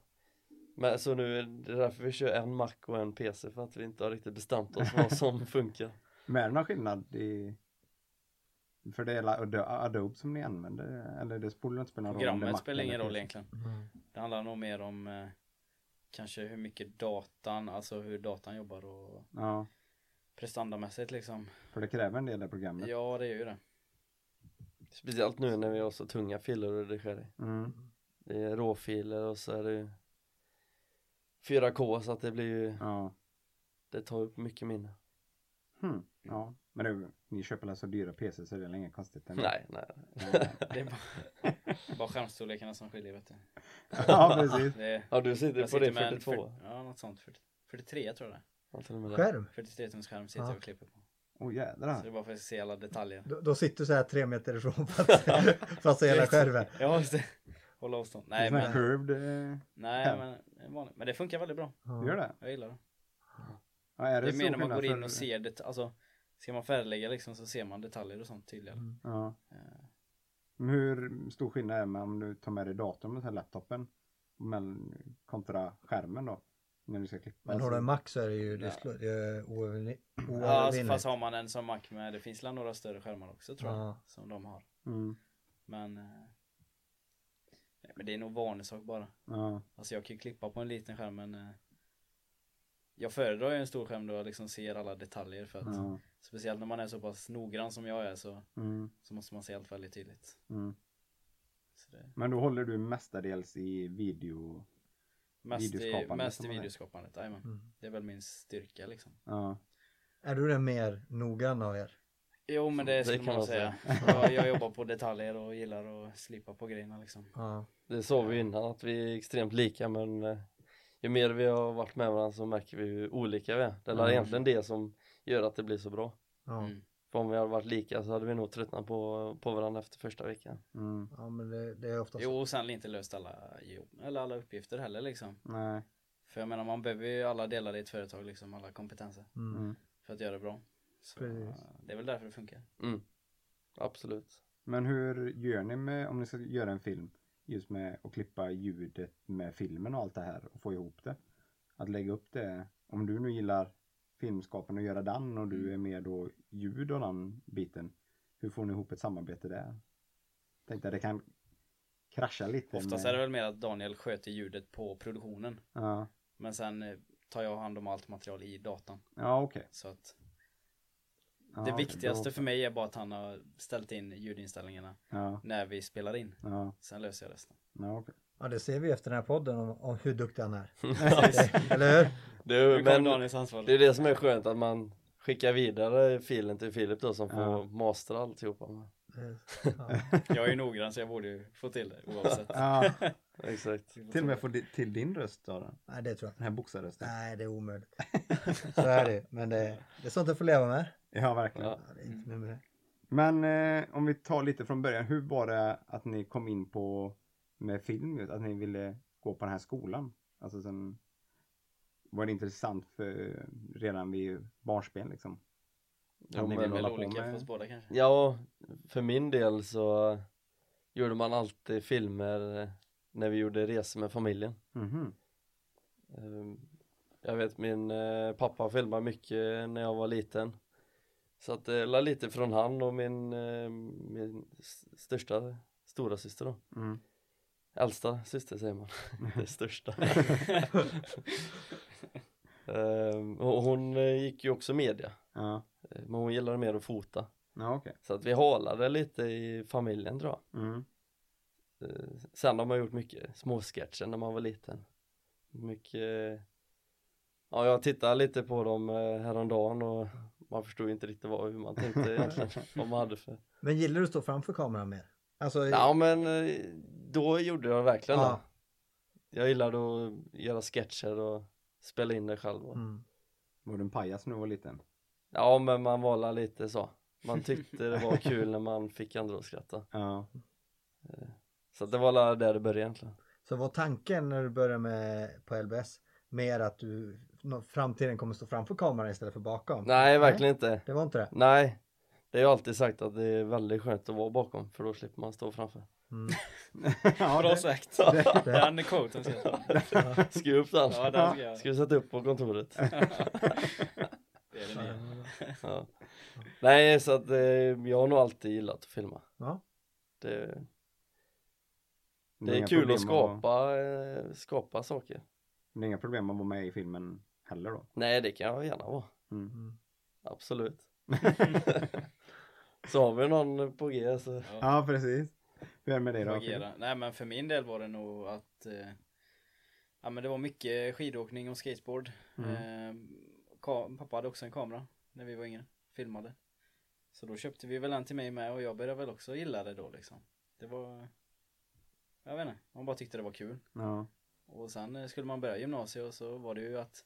C: Men så nu är det därför vi kör en Mac och en PC för att vi inte har riktigt bestämt oss
D: [laughs]
C: vad som funkar.
E: Men är det någon skillnad i... För det är la- Ado- Adobe som ni använder? Eller det spelar inte någon roll? om det är
D: Programmet
E: Mac
D: spelar ingen
E: eller
D: roll
E: PC.
D: egentligen.
B: Mm.
D: Det handlar nog mer om eh, kanske hur mycket datan, alltså hur datan jobbar och
E: Ja,
D: prestandamässigt liksom.
E: för det kräver en del av programmet.
C: Mm.
D: Ja, det är ju det.
C: Speciellt nu när vi har så tunga filer att redigera i.
E: Mm.
C: Det är råfiler och så är det ju 4K så att det blir ju,
E: Ja.
C: det tar upp mycket minne.
E: Hmm. ja, men det, ni köper väl så dyra PC så det är väl inget konstigt?
D: Mm.
E: ändå?
C: Nej, nej.
D: Det är bara, [laughs] bara skärmstorlekarna som skiljer vet du.
E: [laughs] ja, precis.
D: Det är,
C: Ja du sitter på det 42.
D: En 40, ja, något sånt. 40, 43 tror jag det
C: Ja, till och med det.
B: Skärm?
D: är. 43 tums skärm sitter jag och klipper på.
E: Åh
D: Så det
E: jädrar.
D: är bara för att se alla detaljer.
B: Då, då sitter du så här tre meter
D: [laughs]
B: ifrån för att, för att se hela skärmen.
D: Ja, just det. Hålla avstånd.
E: Nej,
D: Nej,
E: men...
D: men,
E: Curved, eh,
D: nej, men, det är vanligt. men det funkar väldigt bra.
E: du gör det?
D: Jag gillar det.
E: Ja, är
D: Det
E: det,
D: är
E: så
D: mer när man
E: skillnad
D: går in
E: för-
D: och ser det, alltså Ska man färglägga liksom så ser man detaljer och sånt tydligare.
B: Mm.
E: Ja.
D: Eh,
E: Men Hur stor skillnad är det om du tar med dig datorn och så här laptopen men kontra skärmen då? När du ska klippa.
B: Men har du en Mac så är det ju det
D: Ja.
B: slå- det är oövervin-
D: Ja, alltså,
B: oövervinnligt.
D: fast har man en som Mac med, det finns väl några större skärmar också tror jag,
B: Ja.
D: som de har.
E: Mm.
D: Men, eh, nej, men det är nog vanesak bara.
E: Ja.
D: Alltså jag kan ju klippa på en liten skärm men eh, jag föredrar ju en stor skärm då jag liksom ser alla detaljer för
B: Mm.
D: att
E: ja.
D: speciellt när man är så pass noggrann som jag är så,
E: Mm.
D: så måste man se allt väldigt tydligt.
E: Mm.
D: Så det,
E: Men då håller du mestadels i video.
D: mest i,
E: Videoskapande
D: mest
E: som
D: i
E: man är.
D: videoskapandet, jajamän.
B: Mm.
D: Det är väl min styrka liksom.
E: Ja.
B: Är du den mer noggrann av er?
D: Jo men det
C: Det
D: skulle
C: kan
D: man,
C: man
D: säga. [laughs] jag, jag jobbar på detaljer och gillar att slipa på grejerna liksom.
B: Ja.
C: Det sa vi ju innan att vi är extremt lika men eh, ju mer vi har varit med varandra så märker vi hur olika vi är. Det är
E: Mm.
C: egentligen det som gör att det blir så bra.
B: Ja.
D: Mm.
C: För om vi hade varit lika så hade vi nog tröttnat på, på varandra efter första veckan.
E: Mm.
B: ja, men det, det är ofta så.
D: Jo och sen inte löst alla jobb, eller alla uppgifter heller liksom.
E: Nej.
D: För jag menar man behöver ju alla delar i ett företag liksom, alla kompetenser
B: Mm.
E: Mm.
D: för att göra det bra. Så,
B: Precis.
D: eh, det är väl därför det funkar.
C: Mm. Absolut.
E: Men hur gör ni med om ni ska göra en film? Just med att klippa ljudet med filmen och allt det här och få ihop det. Att lägga upp det. Om du nu gillar filmskapande och göra den och
D: Mm.
E: du är med då ljud och den biten. Hur får ni ihop ett samarbete där? Tänkte att det kan krascha lite. med-
D: Oftast är det väl mer att Daniel sköter ljudet på produktionen.
E: Ja,
D: Men sen eh, tar jag hand om allt material i datan.
E: ja okej.
D: Så att
E: Ja,
D: det
E: okej.
D: viktigaste
E: Då-
D: för mig är bara att han har ställt in ljudinställningarna
E: Ja,
D: när vi spelar in.
E: ja,
D: Sen löser
E: [laughs]
D: jag resten.
E: ja
D: [laughs]
E: okej.
B: Ja, det ser vi efter den här podden om, om hur duktig han är.
D: Precis.
B: Eller hur?
C: Du,
D: Nu kommer
C: men
D: Daniels ansvar.
C: det är det som är skönt att man skickar vidare filen till Filip då som får
E: Ja.
C: mastra alltihopa.
B: Eh, [laughs] Ja.
D: Jag är ju noggrann så jag borde ju få till det oavsett.
E: Ja,
C: Exakt.
E: till och med få di- till din röst då. Den
B: Nej, det tror jag.
E: här boxarrösten.
B: Nej, det är omöjligt. [laughs] Så är det ju. Men det, det är sånt jag får leva med. Mm.
E: Ja, verkligen.
C: Ja.
B: Ja, det är inte mer med det.
E: Men eh, om vi tar lite från början, hur var det att ni kom in på med film, just att ni ville gå på den här skolan? Alltså sen var det intressant för redan vid barnsben liksom?
C: Ja,
E: ni
D: Det
E: vill
D: är
C: men,
D: väl
E: hålla på
D: olika
E: med-
D: för oss båda kanske.
C: ja, för min del så gjorde man alltid filmer eh, när vi gjorde resor med familjen.
E: Mhm.
C: Eh, Jag vet min eh, pappa filmade mycket när jag var liten. Så att det la lite från han och min, eh, min s- största stora syster då. [laughs]
E: Mm.
C: Äldsta syster säger man, [laughs] det största. Eh, och hon eh, gick ju också media,
E: Ja,
C: eh, men hon gillade mer att fota.
E: ja okej.
C: Så att vi halade lite i familjen tror jag.
E: Mm.
C: Eh, Sen har man gjort mycket småsketcher när man var liten. Mycket eh, Ja, jag tittade lite på dem eh, häromdagen och man förstod inte riktigt vad, hur
B: [laughs]
C: man tänkte egentligen, vad man hade för
B: Men gillar du att stå framför kameran mer? Alltså,
C: Ja, men eh, då gjorde jag verkligen
B: Ja.
C: det Jag gillade att göra sketcher och spela in det själv och...
B: mm.
E: Var du en pajas när du var liten?
C: Ja, men man valade lite så Man tyckte det var [laughs] kul när man fick andra att skratta
E: Ja.
C: Så att det var alla där det började egentligen
B: Så var tanken när du började med, på LBS mer att du nå- framtiden kommer stå framför kameran istället för bakom?
C: Nej, verkligen inte.
B: Det var inte det?
C: Nej, det är ju alltid sagt att det är väldigt skönt att vara bakom för då slipper man stå
D: [laughs]
C: framför.
B: Mm.
E: ja, [laughs]
D: Bra
E: det,
D: sagt!
B: det-
D: Den quoten ska jag ta.
C: Skriv upp den.
D: Ja, den ska jag.
C: Ska vi sätta upp på kontoret?
D: Det är det nya.
C: Ja. Nej, så att eh, jag har nog alltid gillat att filma.
B: Ja.
C: Det,
E: är
C: det är
E: inga
C: kul att
E: problem
C: skapa, eh, skapa saker.
E: Det är inga problem att vara med i filmen heller då.
C: Nej, det kan jag gärna vara.
E: Mm.
B: Mm.
C: Absolut. [laughs] så har vi någon på G så.
E: Ja, precis. Hur är det med dig då? Filip?
D: Agera. Nej men för min del var det nog att eh, Ja men det var mycket skidåkning och skateboard
E: Mm.
D: eh, ka- Pappa hade också en kamera när vi var yngre, filmade Så då köpte vi väl en till mig med och jag började väl också gilla det då liksom Det var Jag vet inte, man bara tyckte det var kul
E: Ja.
D: och sen eh, skulle man börja gymnasiet och så var det ju att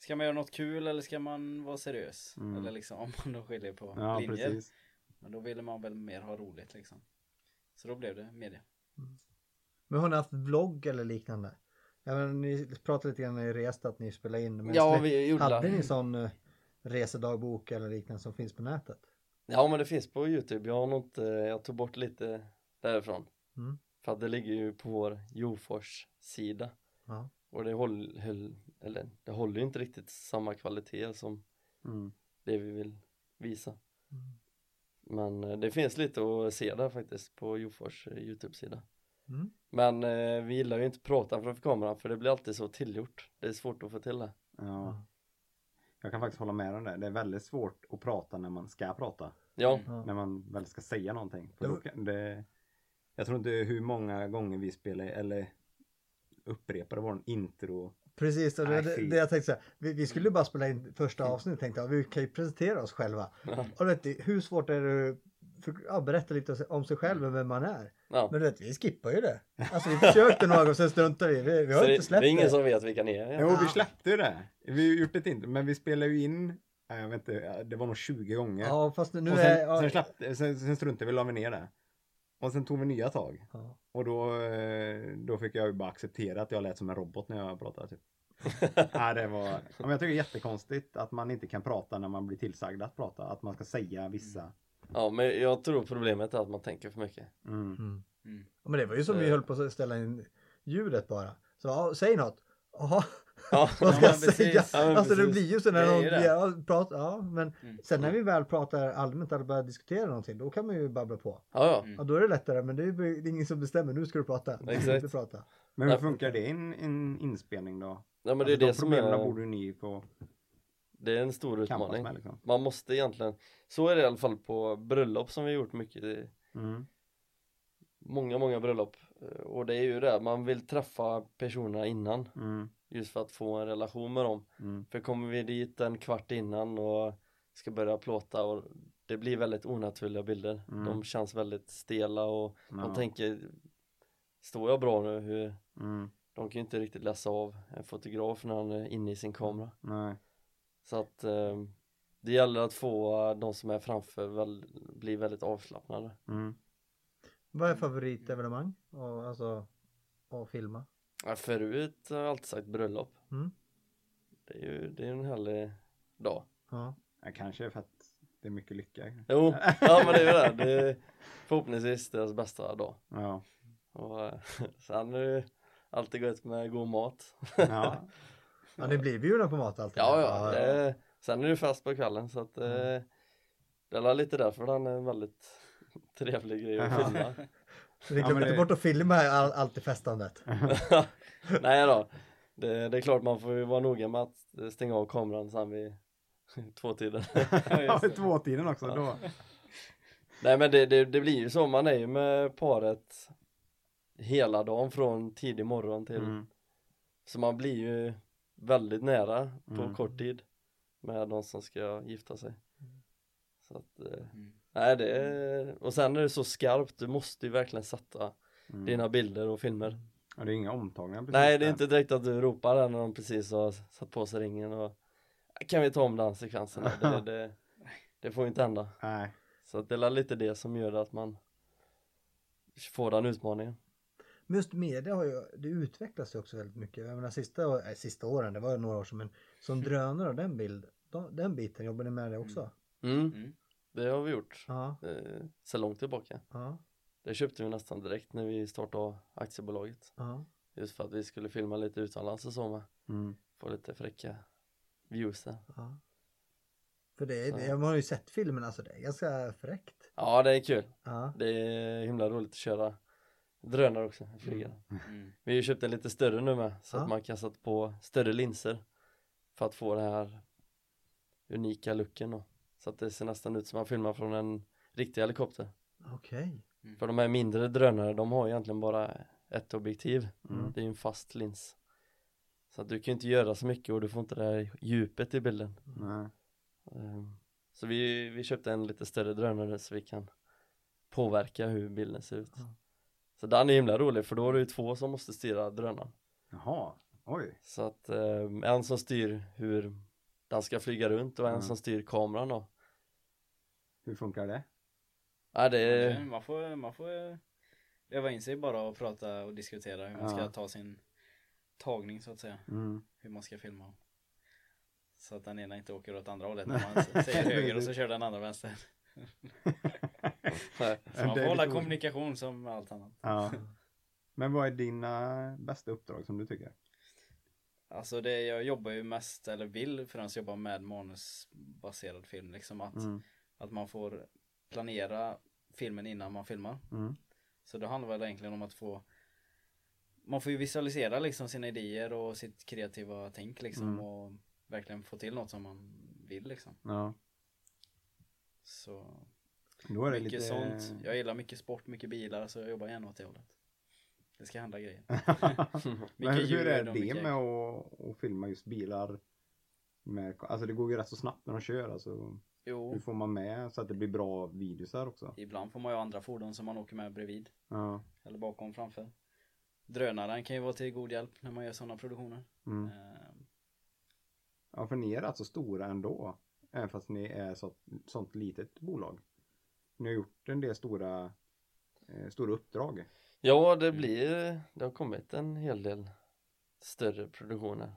D: Ska man göra något kul eller ska man vara seriös?
E: Mm.
D: Eller liksom [laughs] om man då skiljer på
E: ja,
D: linjer
E: precis.
D: Men då ville man väl mer ha roligt liksom Så då blev det media
B: Men har ni haft vlogg eller liknande? Ja, men ni pratade lite grann i rest att ni spelade in. Men
C: Ja,
B: släpp-
C: vi gjorde
B: Hade
C: det.
B: ni sån eh, resedagbok eller liknande som finns på nätet?
C: Ja men det finns på Youtube, jag har nog inte, jag tog bort lite därifrån
B: Mm.
C: För att det ligger ju på vår Jofors sida
B: Ja.
C: Och det håller, höll, eller det håller ju inte riktigt samma kvalitet som
E: Mm.
C: det vi vill visa
B: Mm.
C: Men eh, det finns lite att se där faktiskt på Jofors eh, Youtube-sida
B: Mm.
C: Men eh, vi gillar ju inte att prata framför kameran för det blir alltid så tillgjort Det är svårt att få till det
E: Ja. Jag kan faktiskt hålla med om det. Det är väldigt svårt att prata när man ska prata.
C: Ja,
D: Mm.
B: Ja.
E: När man väl ska säga någonting. För
B: Det
E: då
B: var-
E: kan det, jag tror inte hur många gånger vi spelar eller upprepade vår intro.
B: Precis, och det,
E: Nej,
B: det,
E: fy.
B: det jag tänkte säga. Vi, vi skulle ju bara spela in första avsnittet tänkte jag. Vi kan ju presentera oss själva. Och vet du, hur svårt är det att för- ja, berätta lite om sig själv och vem man är?
C: ja.
B: Men du vet, vi skippar ju det. Alltså vi försökte några gånger, sen struntade vi. Vi, vi
C: Så
B: har inte
C: det, det
B: släppt
C: är ingen
B: det.
C: som vet vilka ni är [laughs]
E: Jo, vi släppte ju det. Vi har ju gjort ett intro, men vi spelade ju in, nej, jag vet inte, ja, det var nog 20 gånger.
B: Ja, fast nu
E: och sen,
B: är... Ja,
E: sen, släppte, sen, sen struntade vi, la vi ner det. Och sen tog vi nya tag.
B: ja.
E: Och då, eh, då fick jag ju bara acceptera att jag lät som en robot när jag pratade. Typ. Nej, det var, [laughs] ja, men jag tycker det är jättekonstigt att man inte kan prata när man blir tillsagd att prata. Att man ska säga vissa.
C: Ja men jag tror problemet är att man tänker för mycket
E: Mm.
D: Mm.
B: Ja, Men det var ju som vi
C: Eh.
B: höll på att ställa in ljudet bara. Så ja, säg något. Jaha,
C: Ja,
B: [laughs] vad ska
D: Ja,
B: jag
D: men precis.
B: säga?
C: Ja, men
B: alltså det
C: precis.
B: blir ju så när
D: Det är
B: någon
D: ju det.
B: ja, pratar, ja men
D: Mm.
B: sen när vi väl pratar allmänt eller börjar diskutera någonting då kan man ju babbla på.
C: ja,
B: Ja då är det lättare men det är ju det är ingen som bestämmer, nu ska du prata. Nu ska du inte
C: Exakt.
B: prata.
E: Men hur
C: Därför-
E: funkar det i en, en inspelning då?
C: ja men det
E: Alltså,
C: är
E: de
C: det som
E: problemen
C: är,
E: borde ju ni få
C: det är en stor
E: kampas
C: utmaning
E: med liksom.
C: Man måste egentligen, så är det i alla fall på bröllop som vi gjort mycket i
E: Mm.
C: Många, många bröllop Eh, Och det är ju det, man vill träffa personerna innan
E: Mm.
C: Just för att få en relation med dem
E: Mm.
C: För kommer vi dit en kvart innan och ska börja plåta och det blir väldigt onaturliga bilder
E: Mm.
C: De känns väldigt stela och
E: Ja.
C: man tänker Står jag bra nu? Hur,
E: Mm.
C: de kan ju inte riktigt läsa av en fotograf när han är inne i sin kamera
E: Nej.
C: så att eh, det gäller att få eh, de som är framför väl, bli väldigt avslappnade
E: Mm.
B: Vad är favoritevenemang? Och, alltså att filma?
C: ja, förut har jag alltid sagt bröllop
B: Mm.
C: det är ju det är en härlig dag
B: Ja.
E: Ja, kanske för att det är mycket lycka.
C: [laughs] jo, ja men det är ju det, det är förhoppningsvis deras bästa dag
E: Ja.
C: och eh, [laughs] sen är det ju alltid gött med god mat
E: ja.
B: ja ni blir bjudna på mat alltid.
C: ja ja, [laughs] det, sen är det ju fest på kvällen så att eh, det är väl lite därför den är en väldigt [laughs] trevlig grej att
E: Ja.
C: filma
B: Så ni
E: Ja,
B: glömmer
E: men
B: inte
E: det-
B: bort att filma all, allt i festandet.
C: [laughs] Nej då, det, det är klart man får ju vara noga med att stänga av kameran sen vid [laughs] tvåtiden. [laughs]
E: ja Tvåtiden också. Då.
C: Nej men det, det, det blir ju så, man är ju med paret hela dagen från tidig morgon till,
E: Mm.
C: så man blir ju väldigt nära på
E: Mm.
C: kort tid med de som ska gifta sig. Så att, eh,
D: Mm.
C: nej det är, och sen är det så skarpt, du måste ju verkligen sätta
E: Mm.
C: dina bilder och filmer.
E: Ja, det är inga omtagningar precis.
C: Nej det är
E: där.
C: inte direkt att du ropar där när de precis har satt på sig ringen och Kan vi ta om den sekvensen? där?" Det, det, det får ju inte hända
E: Nej.
C: Så att det är lite det som gör att man Får den utmaningen
B: Men just media har ju, det utvecklas ju också väldigt mycket. Jag menar sista, nej, sista åren, det var ju några år sedan, men
E: Mm.
B: som drönare och den bild, de, den biten, jobbar ni med det också?
C: Mm,
D: Mm.
C: det har vi gjort
B: Ja,
C: eh, så långt tillbaka.
B: ja,
C: Det köpte vi nästan direkt när vi startade aktiebolaget.
B: ja.
C: Just för att vi skulle filma lite utomlands och så med.
E: Mm.
C: Få lite fräcka views där.
B: ja. För det, är-
C: Så.
B: det, man har ju sett filmen, alltså det är ganska fräckt.
C: Ja, det är kul.
B: Ja,
C: Det är himla roligt att köra drönare också, flyga.
D: Mm.
C: Vi har ju köpt en lite större nu med så
B: Ja.
C: att man kan sätta på större linser för att få den här unika looken då. Så att det ser nästan ut som man filmar från en riktig helikopter.
B: okej.
C: För de här mindre drönare de har egentligen bara ett objektiv.
E: Mm.
C: Det är ju en fast lins. Så att du kan ju inte göra så mycket och du får inte det här djupet i bilden.
E: Nej.
C: Ehm, Så vi, vi köpte en lite större drönare så vi kan påverka hur bilden ser ut.
B: Ja.
C: Så den är himla rolig för då är det ju två som måste styra drönaren.
E: Jaha, oj.
C: Så att eh, en som styr hur den ska flyga runt och en
E: Mm.
C: som styr kameran då.
E: Hur funkar det?
C: Ja, det är,
D: Men Mm. Man får, man får öva in sig bara och prata och diskutera hur
E: Ja.
D: man ska ta sin tagning så att säga.
E: Mm.
D: Hur man ska filma. Så att den ena inte åker åt andra hållet när
E: [laughs]
D: man säger höger och så kör den andra vänster.
C: nej.
D: Så man
E: Det
D: får
E: är
D: hålla
E: lite ol-
D: kommunikation som med allt annat.
E: Ja. [laughs] Men vad är dina bästa uppdrag som du tycker?
D: Alltså det jag jobbar ju mest, eller vill främst jobba med manusbaserad film liksom att,
E: Mm.
D: att man får planera filmen innan man filmar.
E: Mm.
D: Så det handlar väl egentligen om att få Man får ju visualisera liksom sina idéer och sitt kreativa tänk liksom
E: Mm.
D: och verkligen få till något som man vill liksom.
E: Ja.
D: Så
E: Då är det
D: mycket
E: lite... [laughs]
D: sånt. Jag [laughs] gillar mycket sport, mycket bilar så jag jobbar gärna åt det hållet. Det ska
E: [laughs]
D: hända grejer.
E: Men hur, hur är
D: och
E: det
D: mycket-
E: med att, att filma just bilar? Med, alltså det går ju rätt så snabbt när de kör alltså. Hur
D: Jo,
E: får man med så att det blir bra videosar också?
D: ibland får man ju andra fordon som man åker med bredvid
E: Ja.
D: eller bakom framför. Drönaren kan ju vara till god hjälp när man gör sådana produktioner.
E: Mm.
D: Eh,
E: ja för ni är rätt så stora ändå. Även fast ni är så, sånt litet bolag. Ni har gjort en del stora, eh, stora uppdrag.
C: [laughs] ja det blir, det har kommit en hel del större produktioner.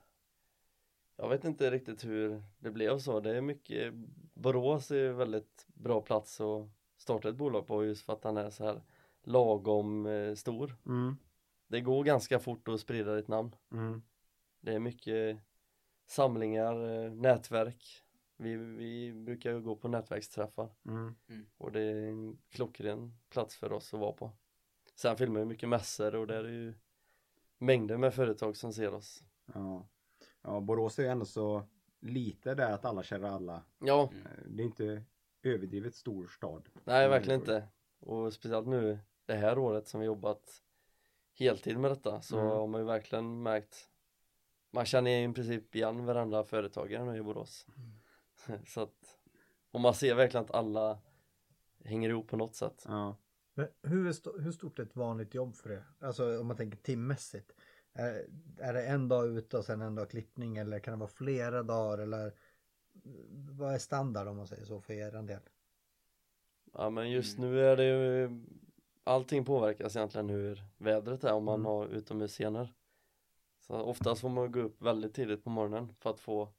C: Jag vet inte riktigt hur det blev så. Det är mycket, Borås är ju väldigt bra plats att starta ett bolag på just för att den är så här lagom eh, stor.
E: Mm.
C: Det går ganska fort att sprida ditt namn.
E: Mm.
C: Det är mycket samlingar, eh, nätverk. Vi, vi brukar ju gå på nätverksträffar
E: Mm.
C: och det är en klockren plats för oss att vara på. Sen filmar vi mycket mässor och där är ju mängder med företag som ser oss.
E: Ja. ja, Borås är ju ändå så lite där att alla känner alla.
C: Ja,
E: Eh, Det är inte överdrivet stor stad.
C: nej
E: Mm,
C: verkligen
E: det går.
C: inte. Och speciellt nu det här året som vi jobbat heltid med detta så
E: Mm.
C: har man ju verkligen märkt man känner i princip igen varandra företagare nu i Borås. [laughs] Så att, och man ser verkligen att alla hänger ihop på något sätt.
E: Ja.
B: Men hur, är sto- hur stort är ett vanligt jobb för er? Alltså om man tänker timmässigt. Är, är det en dag ute och sen en dag klippning eller kan det vara flera dagar eller eh, vad är standard om man säger så för er del?
C: Ja men just
D: Mm.
C: nu är det ju Allting påverkas egentligen hur vädret är om man
B: Mm.
C: har utomhusscener Så oftast får man gå upp väldigt tidigt på morgonen för att få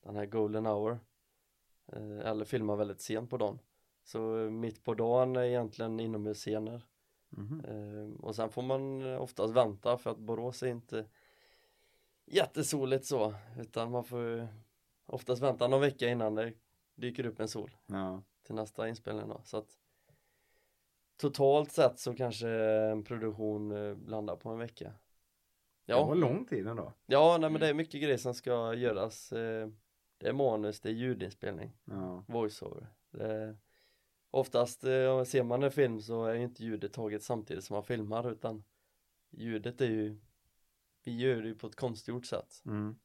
C: Den här golden hour eh, Eller filma väldigt sent på dagen Så eh, mitt på dagen är egentligen inomhusscener
E: Mhm.
C: eh, Och sen får man eh, oftast vänta för att Borås är inte Jättesoligt så utan man får ju Oftast vänta någon vecka innan det dyker upp en sol
E: Ja.
C: till nästa inspelning då så att totalt sett så kanske en produktion eh, landar på en vecka
E: Det var Mm.
C: ja,
E: lång tid ändå.
C: ja nej, men det är mycket grejer som ska göras eh, det är manus, det är ljudinspelning,
E: Ja.
C: voiceover det är, oftast eh, ser man en film så är ju inte ljudet taget samtidigt som man filmar utan ljudet är ju vi gör det ju på ett konstgjort sätt
E: Mm.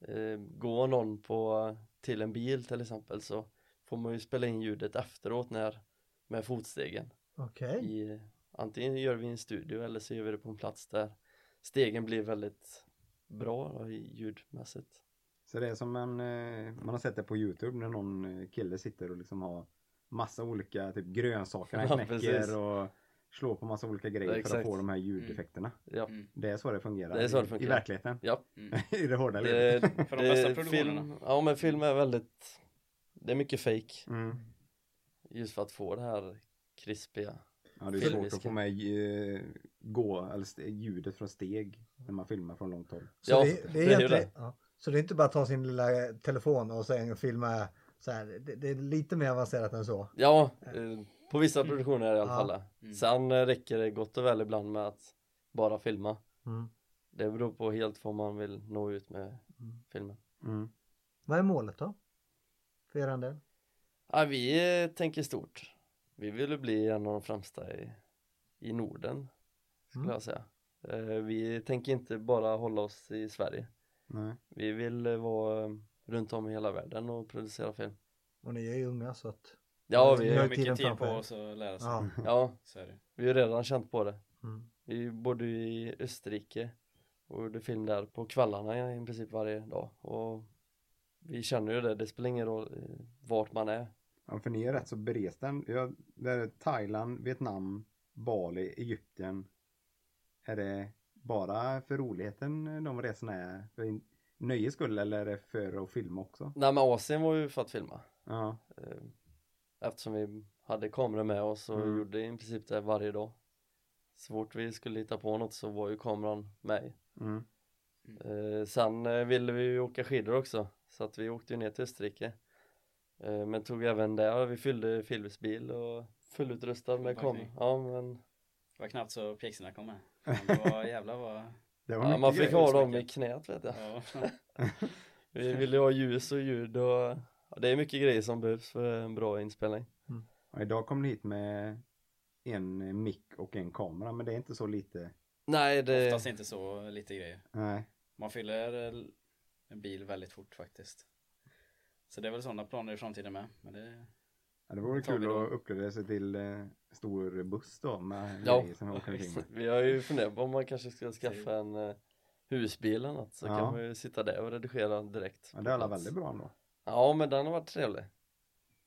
C: eh, går någon på till en bil till exempel så får man ju spela in ljudet efteråt när med fotstegen
B: Okej.
C: i, antingen gör vi i en studio eller så gör vi det på en plats där stegen blir väldigt bra då, i- ljudmässigt
E: Så det är som en, eh, man har sett det på Youtube när någon eh, kille sitter och liksom har massa olika typ grönsaker han
C: Ja,
E: knäcker
C: precis.
E: och slå på massa olika grejer
C: Ja,
E: för att
C: exakt.
E: få de här ljudeffekterna.
C: Ja.
D: Mm.
E: Det är så det fungerar.
C: Det är så det
E: i-
C: fungerar.
E: I verkligheten.
C: Ja.
E: [laughs]
D: Mm.
E: I det hårda livet.
C: Det,
D: För de bästa
C: det, film,
D: produktionerna.
C: ja men film är väldigt Det är mycket fake
E: Mm.
C: Just för att få det här krispiga
E: Ja, det är
C: Filmiska.
E: svårt att få med eh, gå, eller st- ljudet från steg när man filmar från långt håll.
B: Så,
C: Ja,
B: det, det
C: det är
B: är
C: ju
B: egentligen- ja. så det är inte bara att ta sin lilla telefon och sen filma så här. Det, det är lite mer avancerat än så.
C: Ja, eh, på vissa produktioner är det i alla
B: Ja.
C: fall det.
D: Mm.
C: Sen eh, räcker det gott och väl ibland med att bara filma
B: Mm.
C: Det beror på helt vad man vill nå ut med
B: Mm.
C: filmen
E: Mm.
B: Vad är målet då? För er del?
C: ja, Vi eh, tänker stort Vi vill ju bli en av de främsta i, i Norden skulle
B: Mm.
C: jag säga Eh, Vi tänker inte bara hålla oss i Sverige
E: Nej.
C: Vi vill eh, vara eh, runt om i hela världen och producera film
B: Och ni är ju unga så att.
C: Ja,
B: Mm.
C: vi,
D: Vi har
B: har
D: mycket
B: tiden
D: tid på
B: framför.
D: oss att lära
C: Alltså.
D: sig.
B: Ja.
C: ja,
D: Så är det.
C: vi har redan känt på det
B: Mm.
C: Vi bodde i Österrike och gjorde film där på kvällarna i princip varje dag och vi känner ju det, det spelar ingen roll eh, vart man är.
E: Ja, för ni är rätt så beresta. Jag, där är Thailand, Vietnam, Bali, Egypten. Är det bara för roligheten de resorna är? För in- nöjes skull eller är det för att filma också?
C: Nej men Asien var ju för att filma
E: Ja,
C: eh, eftersom vi hade kameror med oss och
E: Mm.
C: gjorde i princip det varje dag. Så fort vi skulle hitta på något så var ju kameran med.
E: mm.
C: Eh, sen eh, ville vi ju åka skidor också så att vi åkte ju ner till Österrike. Eh, men tog även där, vi fyllde Philips bil och fullutrustad med kameror.
D: Fullpackning.
C: Ja men
D: Det var knappt så pjäxorna kom med.
C: [laughs]
D: Men det var jävlar vad...
E: Det var
C: Ja,
E: mycket
C: man fick
E: grejer.
C: ha
D: så
C: dem i
D: mycket.
C: knät vet jag.
D: Ja. [laughs]
C: Vi ville ha ljus och ljud och ja, det är mycket grejer som behövs för en bra inspelning.
E: Och idag kom ni hit med en mick och en kamera, men det är inte så lite.
C: Nej, det,
D: Oftast inte så lite grejer.
E: Nej.
D: Man fyller el- en bil väldigt fort faktiskt. Så det är väl sådana planer i framtiden med. Men det...
E: Ja, det vore
D: Tar vi
E: kul
D: då.
E: att uppleva sig till eh, stor buss då med
C: Ja.
E: grejer som jag åker omkring med.
C: [laughs] vi har ju funderat på om man kanske ska skaffa en eh, husbil eller något så
E: Ja.
C: kan man ju sitta där och redigera direkt.
E: Ja, det är alla
C: på plats.
E: väldigt bra ändå.
C: Ja, men den har varit trevlig.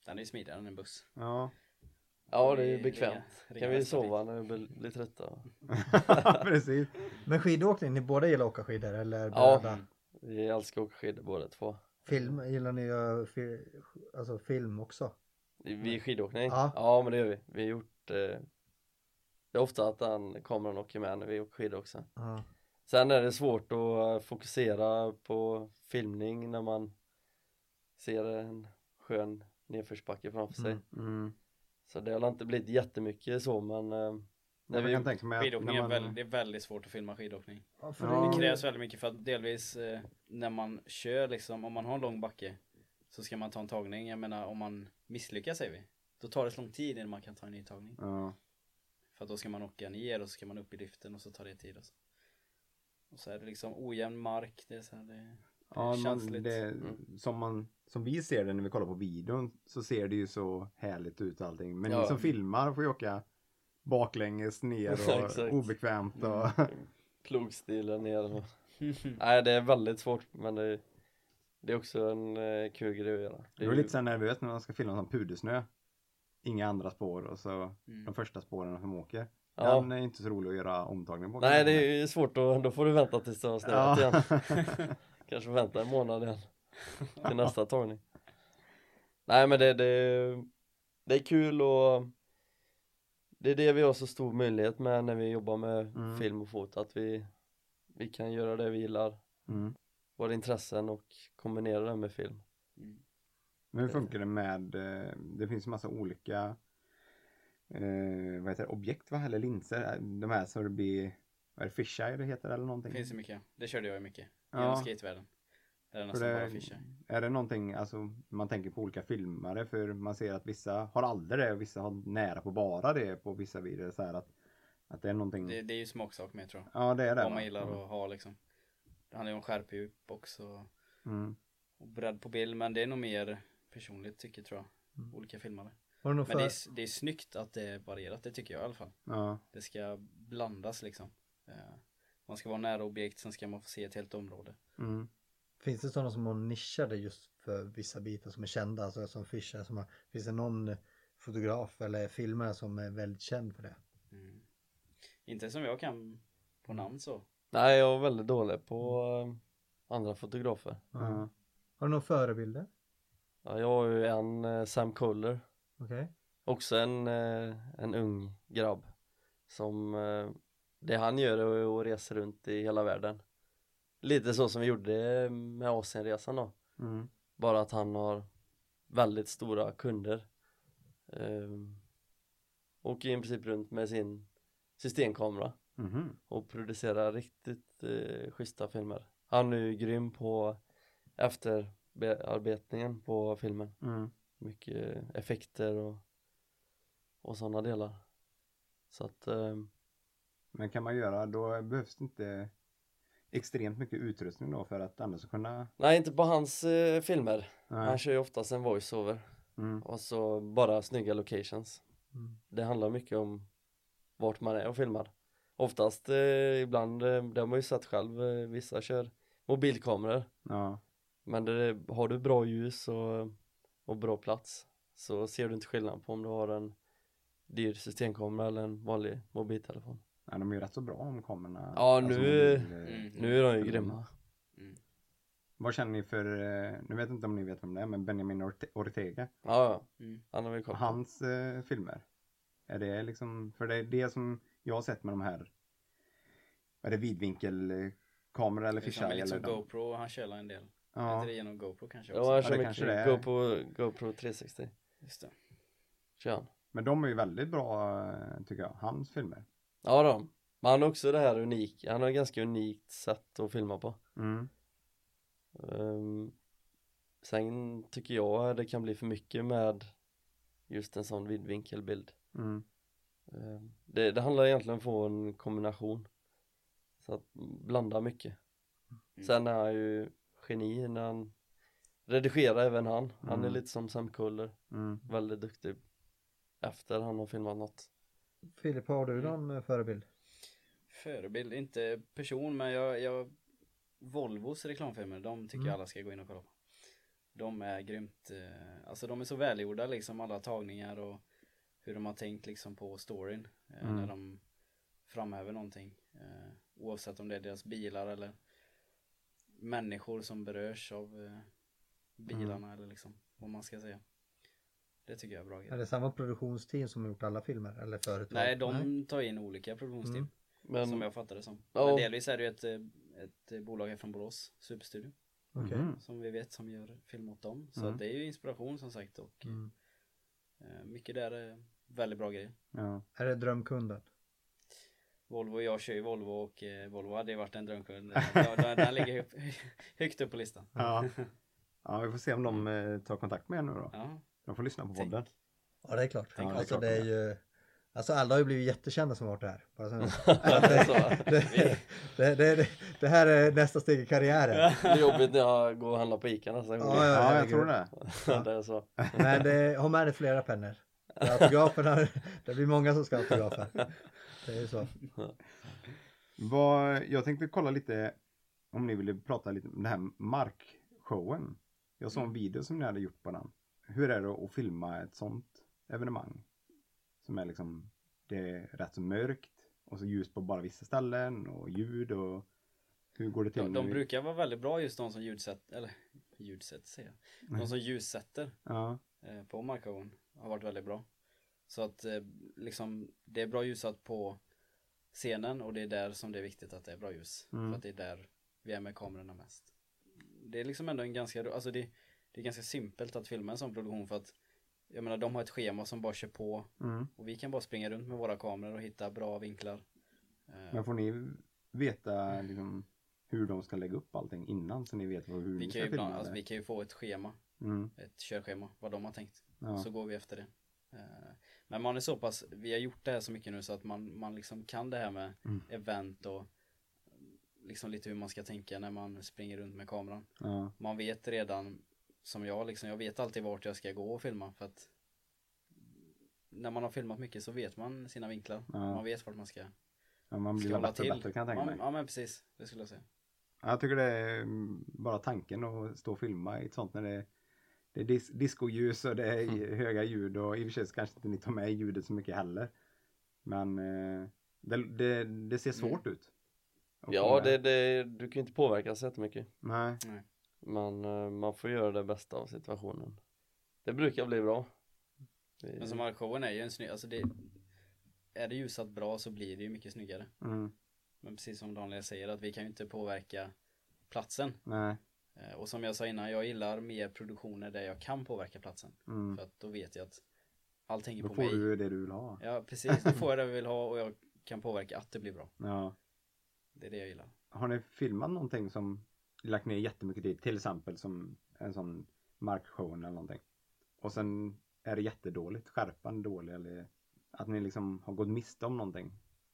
D: Den är ju smidigare än en buss.
E: Ja, [laughs]
C: Ja, det är ju
D: Vi ringer-
C: bekvämt.
D: ringer
C: Kan vi
D: hästar dit.
C: sova när vi blir- blir trötta?
E: precis.
B: Men skidåkning, ni båda gillar att åka skidor eller?
C: Ja.
B: båda?
C: Vi älskar att åka skidor båda två.
B: Film, gillar ni att fi, alltså film också?
C: Vi är skidåkning?
B: Ja.
C: ja, men det gör vi. Vi har gjort eh, det är ofta att den kameran åker med när vi åker skidor också.
B: Ja.
C: Sen är det svårt att eh, fokusera på filmning när man ser en skön nedförsbacke framför sig.
B: Mm.
E: Mm.
C: Så det har inte blivit jättemycket så men eh, när
E: Jag
C: vi,
E: kan tänka mig att
D: Skidåkning
E: när
D: är
E: man,
D: väldigt, det är väldigt svårt att filma skidåkning.
B: Ja, för
E: Ja.
D: Det
B: det-
D: krävs väldigt mycket för att delvis eh, när man kör liksom, om man har en lång backe så ska man ta en tagning. Jag menar om man misslyckas säger vi. Då tar det så lång tid innan man kan ta en ny tagning.
E: Ja,
D: För att då ska man åka ner och så ska man upp i liften och så tar det tid. Och så, och så är det liksom ojämn mark. Det är så här, det...
E: ja man,
D: känsligt.
E: det, som, man, som vi ser det när vi kollar på videon så ser det ju så härligt ut och allting. Men
C: Ja.
E: ni som filmar får ju åka baklänges ner
C: Exakt. Mm.
E: och obekvämt. Och,
C: [laughs] plogstilen ner och... Nej det är väldigt svårt men det, det är också en eh, kul grej att göra.
E: det
C: är
E: är
C: ju-
E: lite så här nervöst när man ska filma som pudersnö. Inga andra spår och så de
D: Mm.
E: första spåren som åker.
C: ja.
E: Den är inte så rolig att göra omtagning på.
C: Nej det
E: [laughs]
C: är ju svårt och då får du vänta tills det har snöat igen. [laughs]
E: Ja. [laughs]
C: Kanske vänta en månad igen till nästa tagning. Nej men det, det, det är kul och det är det vi har så stor möjlighet med när vi jobbar med
E: Mm.
C: film och foto att vi, vi kan göra det vi gillar,
E: Mm.
C: våra intressen och kombinera det med film.
E: Mm. Men hur funkar det med, eh, det finns ju massa olika eh, vad heter det, objekt va? Eller linser? Äh, De här som det blir, vad är det, fisheye det heter eller någonting?
D: Det finns ju mycket. Det körde jag ju mycket. Genom
E: ja,
D: skatevärlden. Där är
E: för
D: nästan bara
E: det,
D: fischer.
E: är det någonting, alltså man tänker på olika filmare för man ser att vissa har aldrig det och vissa har nära på bara det på vissa videor så här att, att det är någonting.
D: Det, det är ju smaksak med tror jag.
E: ja det är det. Mm.
D: Vad
E: va?
D: man gillar att ha liksom. Det handlar ju om skärpedjup också.
E: Mm.
D: Och bredd på bild. Men det är nog mer personligt tycker jag, tror jag.
E: Mm.
D: Olika filmare.
B: Har du något
D: Men det
B: för,
D: är, s- det är snyggt att det är varierat. Det tycker jag i alla fall.
E: Ja.
D: Det ska blandas liksom. Eh, Man ska vara nära objekt. Sen ska man få se ett helt område.
E: Mm.
B: finns det sådana som har nischade just för vissa bitar som är kända? Alltså som Fischer, som har, finns det någon fotograf eller filmare som är väldigt känd för det?
D: Mm. Inte som jag kan på namn så.
C: Nej, jag är väldigt dålig på eh, andra fotografer.
E: Ja.
B: Mm. Har du några förebilder?
C: Ja, jag har ju en eh, Sam Coller,
B: Okej.
C: också en, eh, en ung grabb som eh, det han gör är att resa runt i hela världen. Lite så som vi gjorde med Asienresan då.
E: Mm.
C: Bara att han har väldigt stora kunder. Ehm, åker i princip runt med sin systemkamera
E: Mhm.
C: och producerar riktigt eh, schyssta filmer. Han är ju grym på efterbearbetningen på filmen.
E: Mm.
C: Mycket effekter och, och sådana delar. Så att ehm,
E: Men kan man göra, då behövs det inte extremt mycket utrustning då för att annars kunna...
C: Nej, inte på hans eh, filmer. Han
E: Nej.
C: kör ju oftast en voiceover
E: Mm.
C: och så bara snygga locations.
B: Mm.
C: Det handlar mycket om vart man är och filmar. Oftast eh, ibland, eh, det har man ju sett själv, eh, vissa kör mobilkameror.
E: Ja.
C: Men det, har du bra ljus och, och bra plats så ser du inte skillnad på om du har en dyr systemkamera eller en vanlig mobiltelefon.
E: ja, de är ju rätt så bra om kamerorna.
C: Ja,
E: Alltså,
C: nu-
E: mobil, eh,
D: Mm.
C: Nu är de ju grymma.
E: Vad känner ni för, eh, nu vet jag inte om ni vet vem det är, men Benjamin Orte- Ortega.
C: Ja, ja.
D: Mm.
C: Han har vi koll på.
E: Hans eh, filmer. Är det liksom, för det är det som jag har sett med de här, är det vidvinkelkameror eller
D: Det är
E: fisheye
D: lite
E: eller
D: som
E: de?
D: GoPro och han källar en del. Ja.
E: Ja.
D: Inte det genom GoPro kanske
C: Ja, han
D: också?
E: det
C: kör
E: kanske
C: mycket.
E: det är.
C: GoPro, GoPro 360
D: Just det.
C: kör han.
E: Men de är ju väldigt bra eh, tycker jag, hans filmer.
C: Ja då. Men han har också det här unika, han har ett ganska unikt sätt att filma på.
E: Mm.
C: Ehm, sen tycker jag det kan bli för mycket med just en sån vidvinkelbild.
E: Mm.
C: Ehm, det, det handlar egentligen om att få en kombination. Så att blanda mycket.
D: Mm.
C: Sen är han ju geni när han redigerar även han. Han är
E: Mm.
C: lite som Sam Kuller,
E: Mm.
C: väldigt duktig efter han har filmat något.
B: Filip, har du
D: Mm.
B: någon eh, förebild?
D: Förebild, inte person men jag, jag Volvos reklamfilmer, de tycker jag alla ska gå in och kolla på. De är grymt, eh, alltså de är så välgjorda liksom alla tagningar och hur de har tänkt liksom på storyn eh,
E: Mm.
D: när de framhäver någonting. Eh, oavsett om det är deras bilar eller människor som berörs av eh, bilarna eller liksom vad man ska säga. Det tycker jag är bra
B: Är
D: grejer.
B: det samma produktionsteam som har gjort alla filmer? Eller företag?
D: Nej, de tar in olika produktionsteam.
B: Mm.
C: Men
D: Som jag fattar det som.
C: Ja.
D: Men delvis är det ju ett, eh, ett eh, bolag här från Borås, Superstudio,
B: Okej.
E: Mhm.
D: som vi vet som gör film åt dem. Så
E: Mm.
D: att det är ju inspiration som sagt och
B: Mm.
D: eh, mycket där är väldigt bra grejer.
E: Ja.
B: Är det drömkunden?
D: Volvo, jag kör ju Volvo och eh, Volvo hade ju varit en drömkund. Ja, den, den ligger upp, [laughs] högt upp på listan.
E: Ja. ja, vi får se om de eh, tar kontakt med er nu då.
D: Ja,
E: De får lyssna på
D: Tänk.
E: podden.
B: Ja, det är klart.
E: Ja, det är
B: alltså,
E: klart
B: det är
E: de
B: ju... Alltså alla har ju blivit jättekända som har varit där. Bara så nu.
C: så,
B: det, det, det, det, det här är nästa steg i karriären.
C: [laughs] det är jobbigt när jag går och handlar på Ica nästa gång.
B: Ja,
E: Ja, jag
B: herregud.
E: tror det.
C: [laughs] det är så.
B: Men det, ha med dig flera pennor. För Autograferna, det blir många som ska ha autografer. Det är ju så.
E: Vad, jag tänkte kolla lite om ni ville prata lite om den här markshowen. Jag såg en
D: Mm.
E: video som ni hade gjort på den. Hur är det att filma ett sånt evenemang? Som är liksom, det är rätt så mörkt och så ljus på bara vissa ställen och ljud och hur går det till?
D: de,
E: nu?
D: de brukar vara väldigt bra just de som ljudsätter, eller ljudsätter säger jag. De som ljussätter.
E: Ja,
D: eh, på Markowen har varit väldigt bra. Så att eh, liksom det är bra ljusat på scenen och det är där som det är viktigt att det är bra ljus.
E: Mm.
D: För att det är där vi är med kamerorna mest. Det är liksom ändå en ganska, alltså det, det är ganska simpelt att filma en sån produktion för att jag menar de har ett schema som bara kör på
E: mm.
D: och vi kan bara springa runt med våra kameror och hitta bra vinklar. Eh,
E: men får ni veta liksom hur de ska lägga upp allting innan så ni vet vad- hur
D: vi,
E: ni
D: kan
E: ska
D: ju
E: filma?
D: ibland, alltså,
E: det?
D: vi kan ju få ett schema,
E: Mm,
D: ett körschema, vad de har tänkt.
E: ja.
D: så går vi efter det. Eh, Men man är så pass, vi har gjort det här så mycket nu så att man, man liksom kan det här med
E: Mm.
D: event och liksom lite hur man ska tänka när man springer runt med kameran.
E: ja.
D: Man vet redan, som jag liksom, jag vet alltid vart jag ska gå och filma för att när man har filmat mycket så vet man sina vinklar.
E: Ja.
D: Man vet vart man ska,
E: Ja, man blir
D: ska
E: väl
D: hålla
E: bättre
D: till.
E: och bättre kan jag tänka
D: man,
E: mig.
D: Ja men precis, det skulle jag säga.
E: Ja, Jag tycker det är mm, bara tanken att stå och filma i ett sånt när det, det är dis discoljus och det är
D: Mm.
E: i- höga ljud och i och för sig så kanske inte ni tar med ljudet så mycket heller. Men eh, Det, det, det
D: Mm.
E: ser svårt ut. Att
C: Ja,
E: komma-
C: det, det, du kan ju inte påverka så jättemycket.
E: Nej,
C: Men eh, man får göra det bästa av situationen. Det brukar bli bra. Det-
D: Men som
E: Mm.
D: här showen är ju en snygg, alltså det Är det ljusat bra så blir det ju mycket snyggare
E: mm,
D: Men precis som Daniel säger att vi kan ju inte påverka platsen
E: nej.
D: Eh, Och som jag sa innan, jag gillar mer produktioner där jag kan påverka platsen
E: Mm.
D: För att då vet jag att allt hänger
E: Då
D: på
E: får
D: mig
E: du det du vill ha.
D: Ja precis, då
E: [laughs]
D: får jag det vi vill ha och jag kan påverka att det blir bra
E: Ja.
D: Det är det jag gillar
E: Har ni filmat någonting som lagt ner jättemycket tid? Till exempel som en sån markshow eller någonting. Och sen är det jättedåligt, skärpan dålig eller att ni liksom har gått miste om någonting.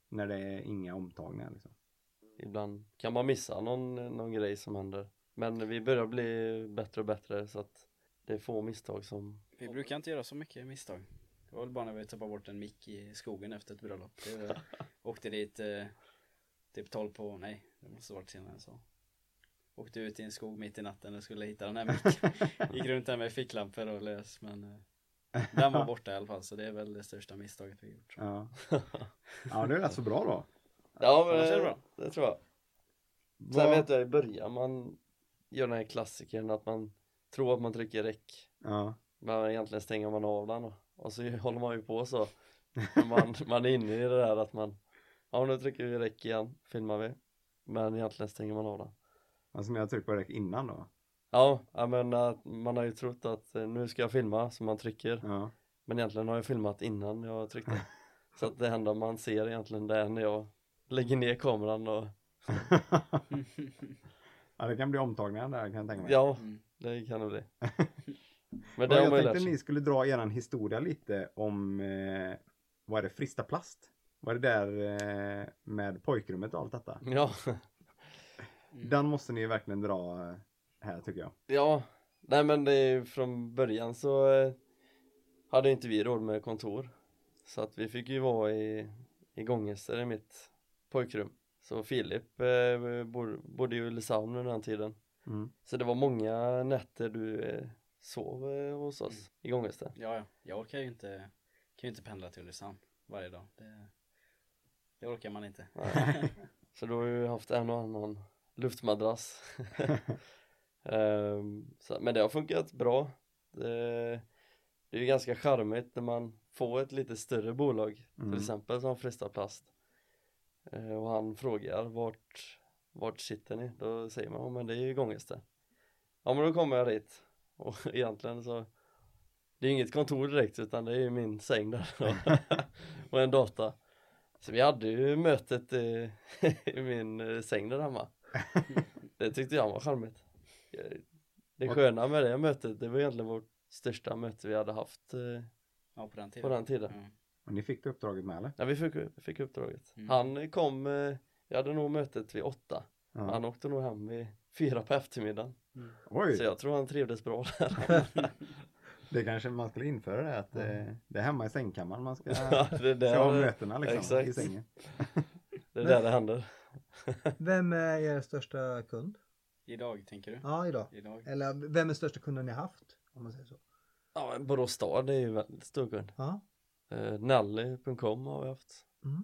E: När det är inga omtagningar liksom.
C: Ibland kan man missa någon, någon grej som händer. Men vi börjar bli bättre och bättre så att det är få misstag som
D: Vi brukar inte göra så mycket misstag Det var väl bara när vi tappade bort en mick i skogen efter ett bröllop det var, Åkte dit eh, Typ 12 på, nej det måste ha varit senare än så Åkte ut i en skog mitt i natten och skulle hitta den här micken Gick runt där med ficklampor och lös men eh, Den var borta i alla fall så det är väl det största misstaget vi har gjort
E: Ja. ja, det är rätt så bra då.
C: Ja
D: Annars är
C: men
D: det bra.
C: det tror jag Sen
E: Vad-
C: vet jag i början man gör den här klassikern att man tror att man trycker räck
E: Ja.
C: Men egentligen stänger man av den och- och så [laughs] håller man ju på så Men man, man är inne i det där att man Ja nu trycker vi räck igen, filmar vi Men egentligen stänger man av den
E: Alltså när jag tryckte på räck innan då.
C: Ja, ja, men att man har ju trott att eh, nu ska jag filma så man trycker
E: Ja. [laughs]
C: Men egentligen har jag filmat innan jag tryckte Så att det enda man ser egentligen det är när jag lägger ner kameran och
E: ja, det kan bli omtagningar där kan jag tänka mig.
C: Ja,
D: Mm.
C: det kan det
E: [laughs]
C: bli Men det
E: Ja,
C: har
E: jag
C: man ju
E: tänkte
C: lärt
E: att
C: sig [laughs]
E: ni skulle dra eran historia lite om eh, vad är det, Frista Plast? Vad är det där eh, med pojkrummet och allt detta?
C: Ja,
D: mm.
E: Den måste ni verkligen dra eh, här tycker jag.
C: ja Nej men det är, ju från början så eh, hade inte vi råd med kontor Så att vi fick ju vara i, i Gångester i mitt pojkrum Så Filip eh, bor- bodde ju i Ulricehamn under den tiden
E: Mm.
C: Så det var många nätter du eh, sov eh, hos oss
E: Mm.
C: i Gångeste
D: Ja ja, jag orkar ju inte Kan ju inte pendla till Ulricehamn varje dag det, det orkar man inte
C: Nej. Så då har vi haft en och annan luftmadrass [laughs] Ehm, så, Men det har funkat bra det, det är ju ganska charmigt när man får ett lite större bolag
E: Mm.
C: Till exempel som Frista Plast Eh, Och han frågar vart, vart sitter ni? Då säger man, ja men det är ju Gångeste Ja men då kommer jag dit [laughs] Och egentligen så Det är ju inget kontor direkt utan det är ju min säng där [laughs] Och en data Så vi hade ju mötet eh, i min eh, säng där hemma Det tyckte jag var charmigt Eh, Det sköna med det mötet, det var egentligen vårt största möte vi hade haft eh,
D: Ja på den
C: på
D: tiden
C: den tiden
D: Mm.
E: Och ni fick det uppdraget med eller?
C: Ja vi fick, fick uppdraget
D: Mm.
C: Han kom, eh, vi hade nog mötet vid åtta
E: Ja.
C: Han åkte nog hem vid fyra på eftermiddagen Så
E: Oj,
C: jag tror han trivdes bra där
E: det kanske man skulle införa det att eh, det är hemma i sängkammaren
C: [laughs]
E: man ska,
C: Mm. Ja, det är
E: ska ha
C: där,
E: mötena liksom.
C: exakt.
E: I sängen.
C: det, är där det händer
B: Vem är er största kund?
D: Idag tänker du?
B: Ja, idag.
D: Idag?
B: Eller vem är största kunden ni haft? Om man säger så.
C: Ja men Borås stad är ju väldigt stor kund
B: Ja.
C: eh, Nally.com har vi haft
B: Mm.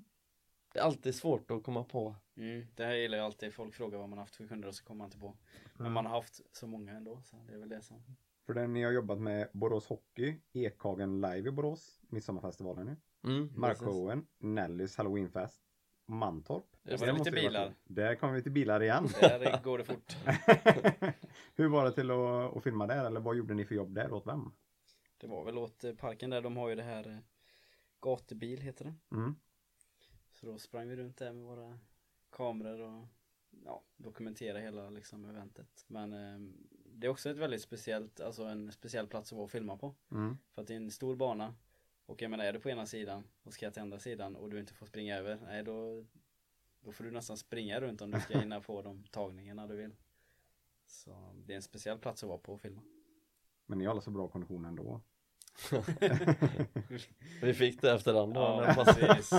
C: Det är alltid svårt att komma på
D: Mm, det här gillar jag alltid. Folk frågar vad man haft för kunder och så kommer man inte på.
B: Mm.
D: Men man har haft så många ändå så det är väl det som.
E: För den ni har jobbat med Borås Hockey, Ekhagen Live i Borås, Midsommarfestivalen nu.
C: mm, precis.
E: Markshowen, Nellys Halloweenfest, Mantorp.
D: Det var lite
E: måste ju varit
D: bilar.
E: kul. Där kommer vi till bilar igen.
D: Där går det fort.
E: [laughs] Hur var det till att, att filma där eller vad gjorde ni för jobb där åt vem?
D: Det var väl åt eh, parken där. De har ju det här eh, gatubil heter det.
E: Mm.
D: Så då sprang vi runt där med våra kameror och ja, dokumenterade hela liksom eventet. Men eh, det är också ett väldigt speciellt, alltså en speciell plats att vara och filma på.
E: Mm.
D: För att det är en stor bana och jag menar är du på ena sidan och ska till andra sidan och du inte får springa över, nej då, då får du nästan springa runt om du ska hinna få de tagningarna du vill. Så det är en speciell plats att vara på
C: [laughs]
D: och filma.
E: Men ni har alla så bra kondition
D: [laughs]
E: ändå.
C: Vi fick det efter den dagen
D: Ja, precis.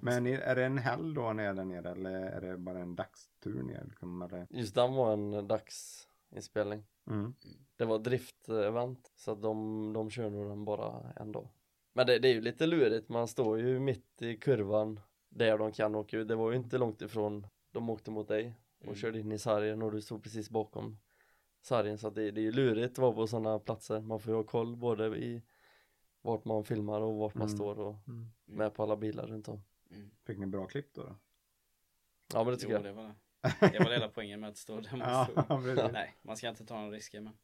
E: Men är- är det en helg då ni är där nere eller är det bara en dagstur ner? Liksom, eller?
C: Just den var en dagsinspelning
E: Mm.
C: Det var driftevent så att de, de kör nog den bara en dag Men det, det är ju lite lurigt, man står ju mitt i kurvan där de kan åka ut. Det var ju inte långt ifrån de åkte mot dig och
D: Mm.
C: körde in i sargen och du stod precis bakom sargen så att det, det är ju lurigt att vara på sådana platser. Man får ju ha koll både i vart man filmar och vart man
E: Mm.
C: står och
B: Mm.
C: med på alla bilar runt om.
D: Mm.
E: Fick ni bra klipp [laughs] då? då?
C: Ja men det tycker
D: jo,
C: jag.
D: det var det.
C: [laughs]
D: Det var hela poängen med att stå där man stod.
E: precis.
D: Nej, man ska inte ta några risker men.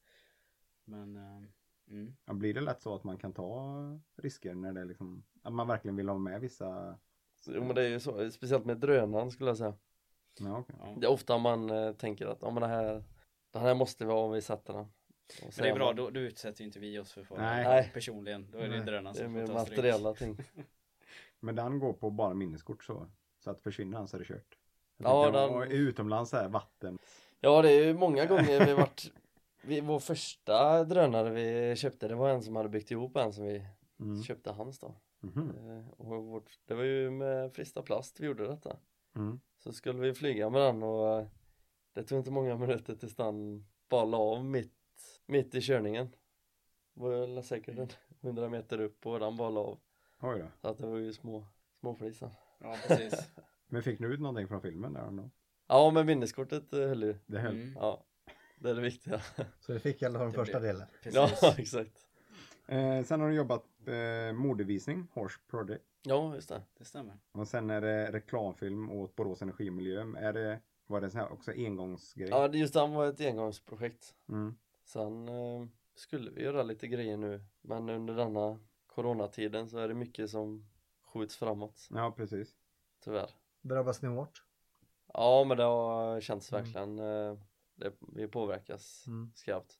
D: Men, eh, mm.
E: Ja, blir det lätt så att man kan ta risker när det är liksom, att man verkligen vill ha med vissa?
C: Jo men det är ju så, speciellt med drönaren skulle jag säga.
E: Ja, okej.
D: Ja.
C: Det är ofta man eh, tänker att ja men det här, den här måste vi ha om vi sätter den. Och så
D: Men det är
C: man-
D: bra, då, då utsätter ju inte vi oss för fara.
E: Nej.
C: Nej.
D: Personligen, då är det
E: Nej.
D: drönaren
C: Det är
D: som
C: mer
D: får ta stryk.
C: materiella ting.
E: Men den går på bara minneskort så? Så att försvinner den så är det kört? Jag
C: Ja,
E: tänkte,
C: den-
E: "Åh, Utomlands så här, vatten.
C: Ja det är ju många gånger vi varit vi, Vår första drönare vi köpte det var en som hade byggt ihop en som vi
E: Mm.
C: köpte hans då
E: Mhm.
C: Eh, och vårt, Det var ju med Frista Plast vi gjorde detta
E: Mm.
C: Så skulle vi flyga med den och eh, Det tog inte många minuter tills den bara la av mitt, mitt i körningen Det var väl säkert
D: Mm.
C: en 100 meter upp och den bara la av
E: Oj då.
C: Så att det var ju små, små flisen
D: Ja,
C: [laughs]
D: precis.
E: Men fick ni ut någonting från filmen där? Arno?
C: Ja men minneskortet eh, höll ju
E: Det höll.
D: Mm,
C: Ja Det är det viktiga [laughs]
B: Så vi fick i alla fall den
D: Det
B: första delen.
D: precis.
C: Ja [laughs] exakt
E: Eh, sen har du jobbat eh, modevisning, Horse Project.
C: Ja just det
D: Det stämmer.
E: Och sen är det reklamfilm åt Borås Energimiljö. Är det, var det så här också engångsgrej?
C: Ja, det- just den var ett engångsprojekt.
E: Mm.
C: Sen eh, skulle vi göra lite grejer nu, men under denna coronatiden så är det mycket som skjuts framåt,
E: ja precis.
C: tyvärr.
B: Drabbas ni hårt?
C: Ja, men det har känts
B: Mm.
C: verkligen, eh, det, vi påverkas
B: Mm.
C: skarpt.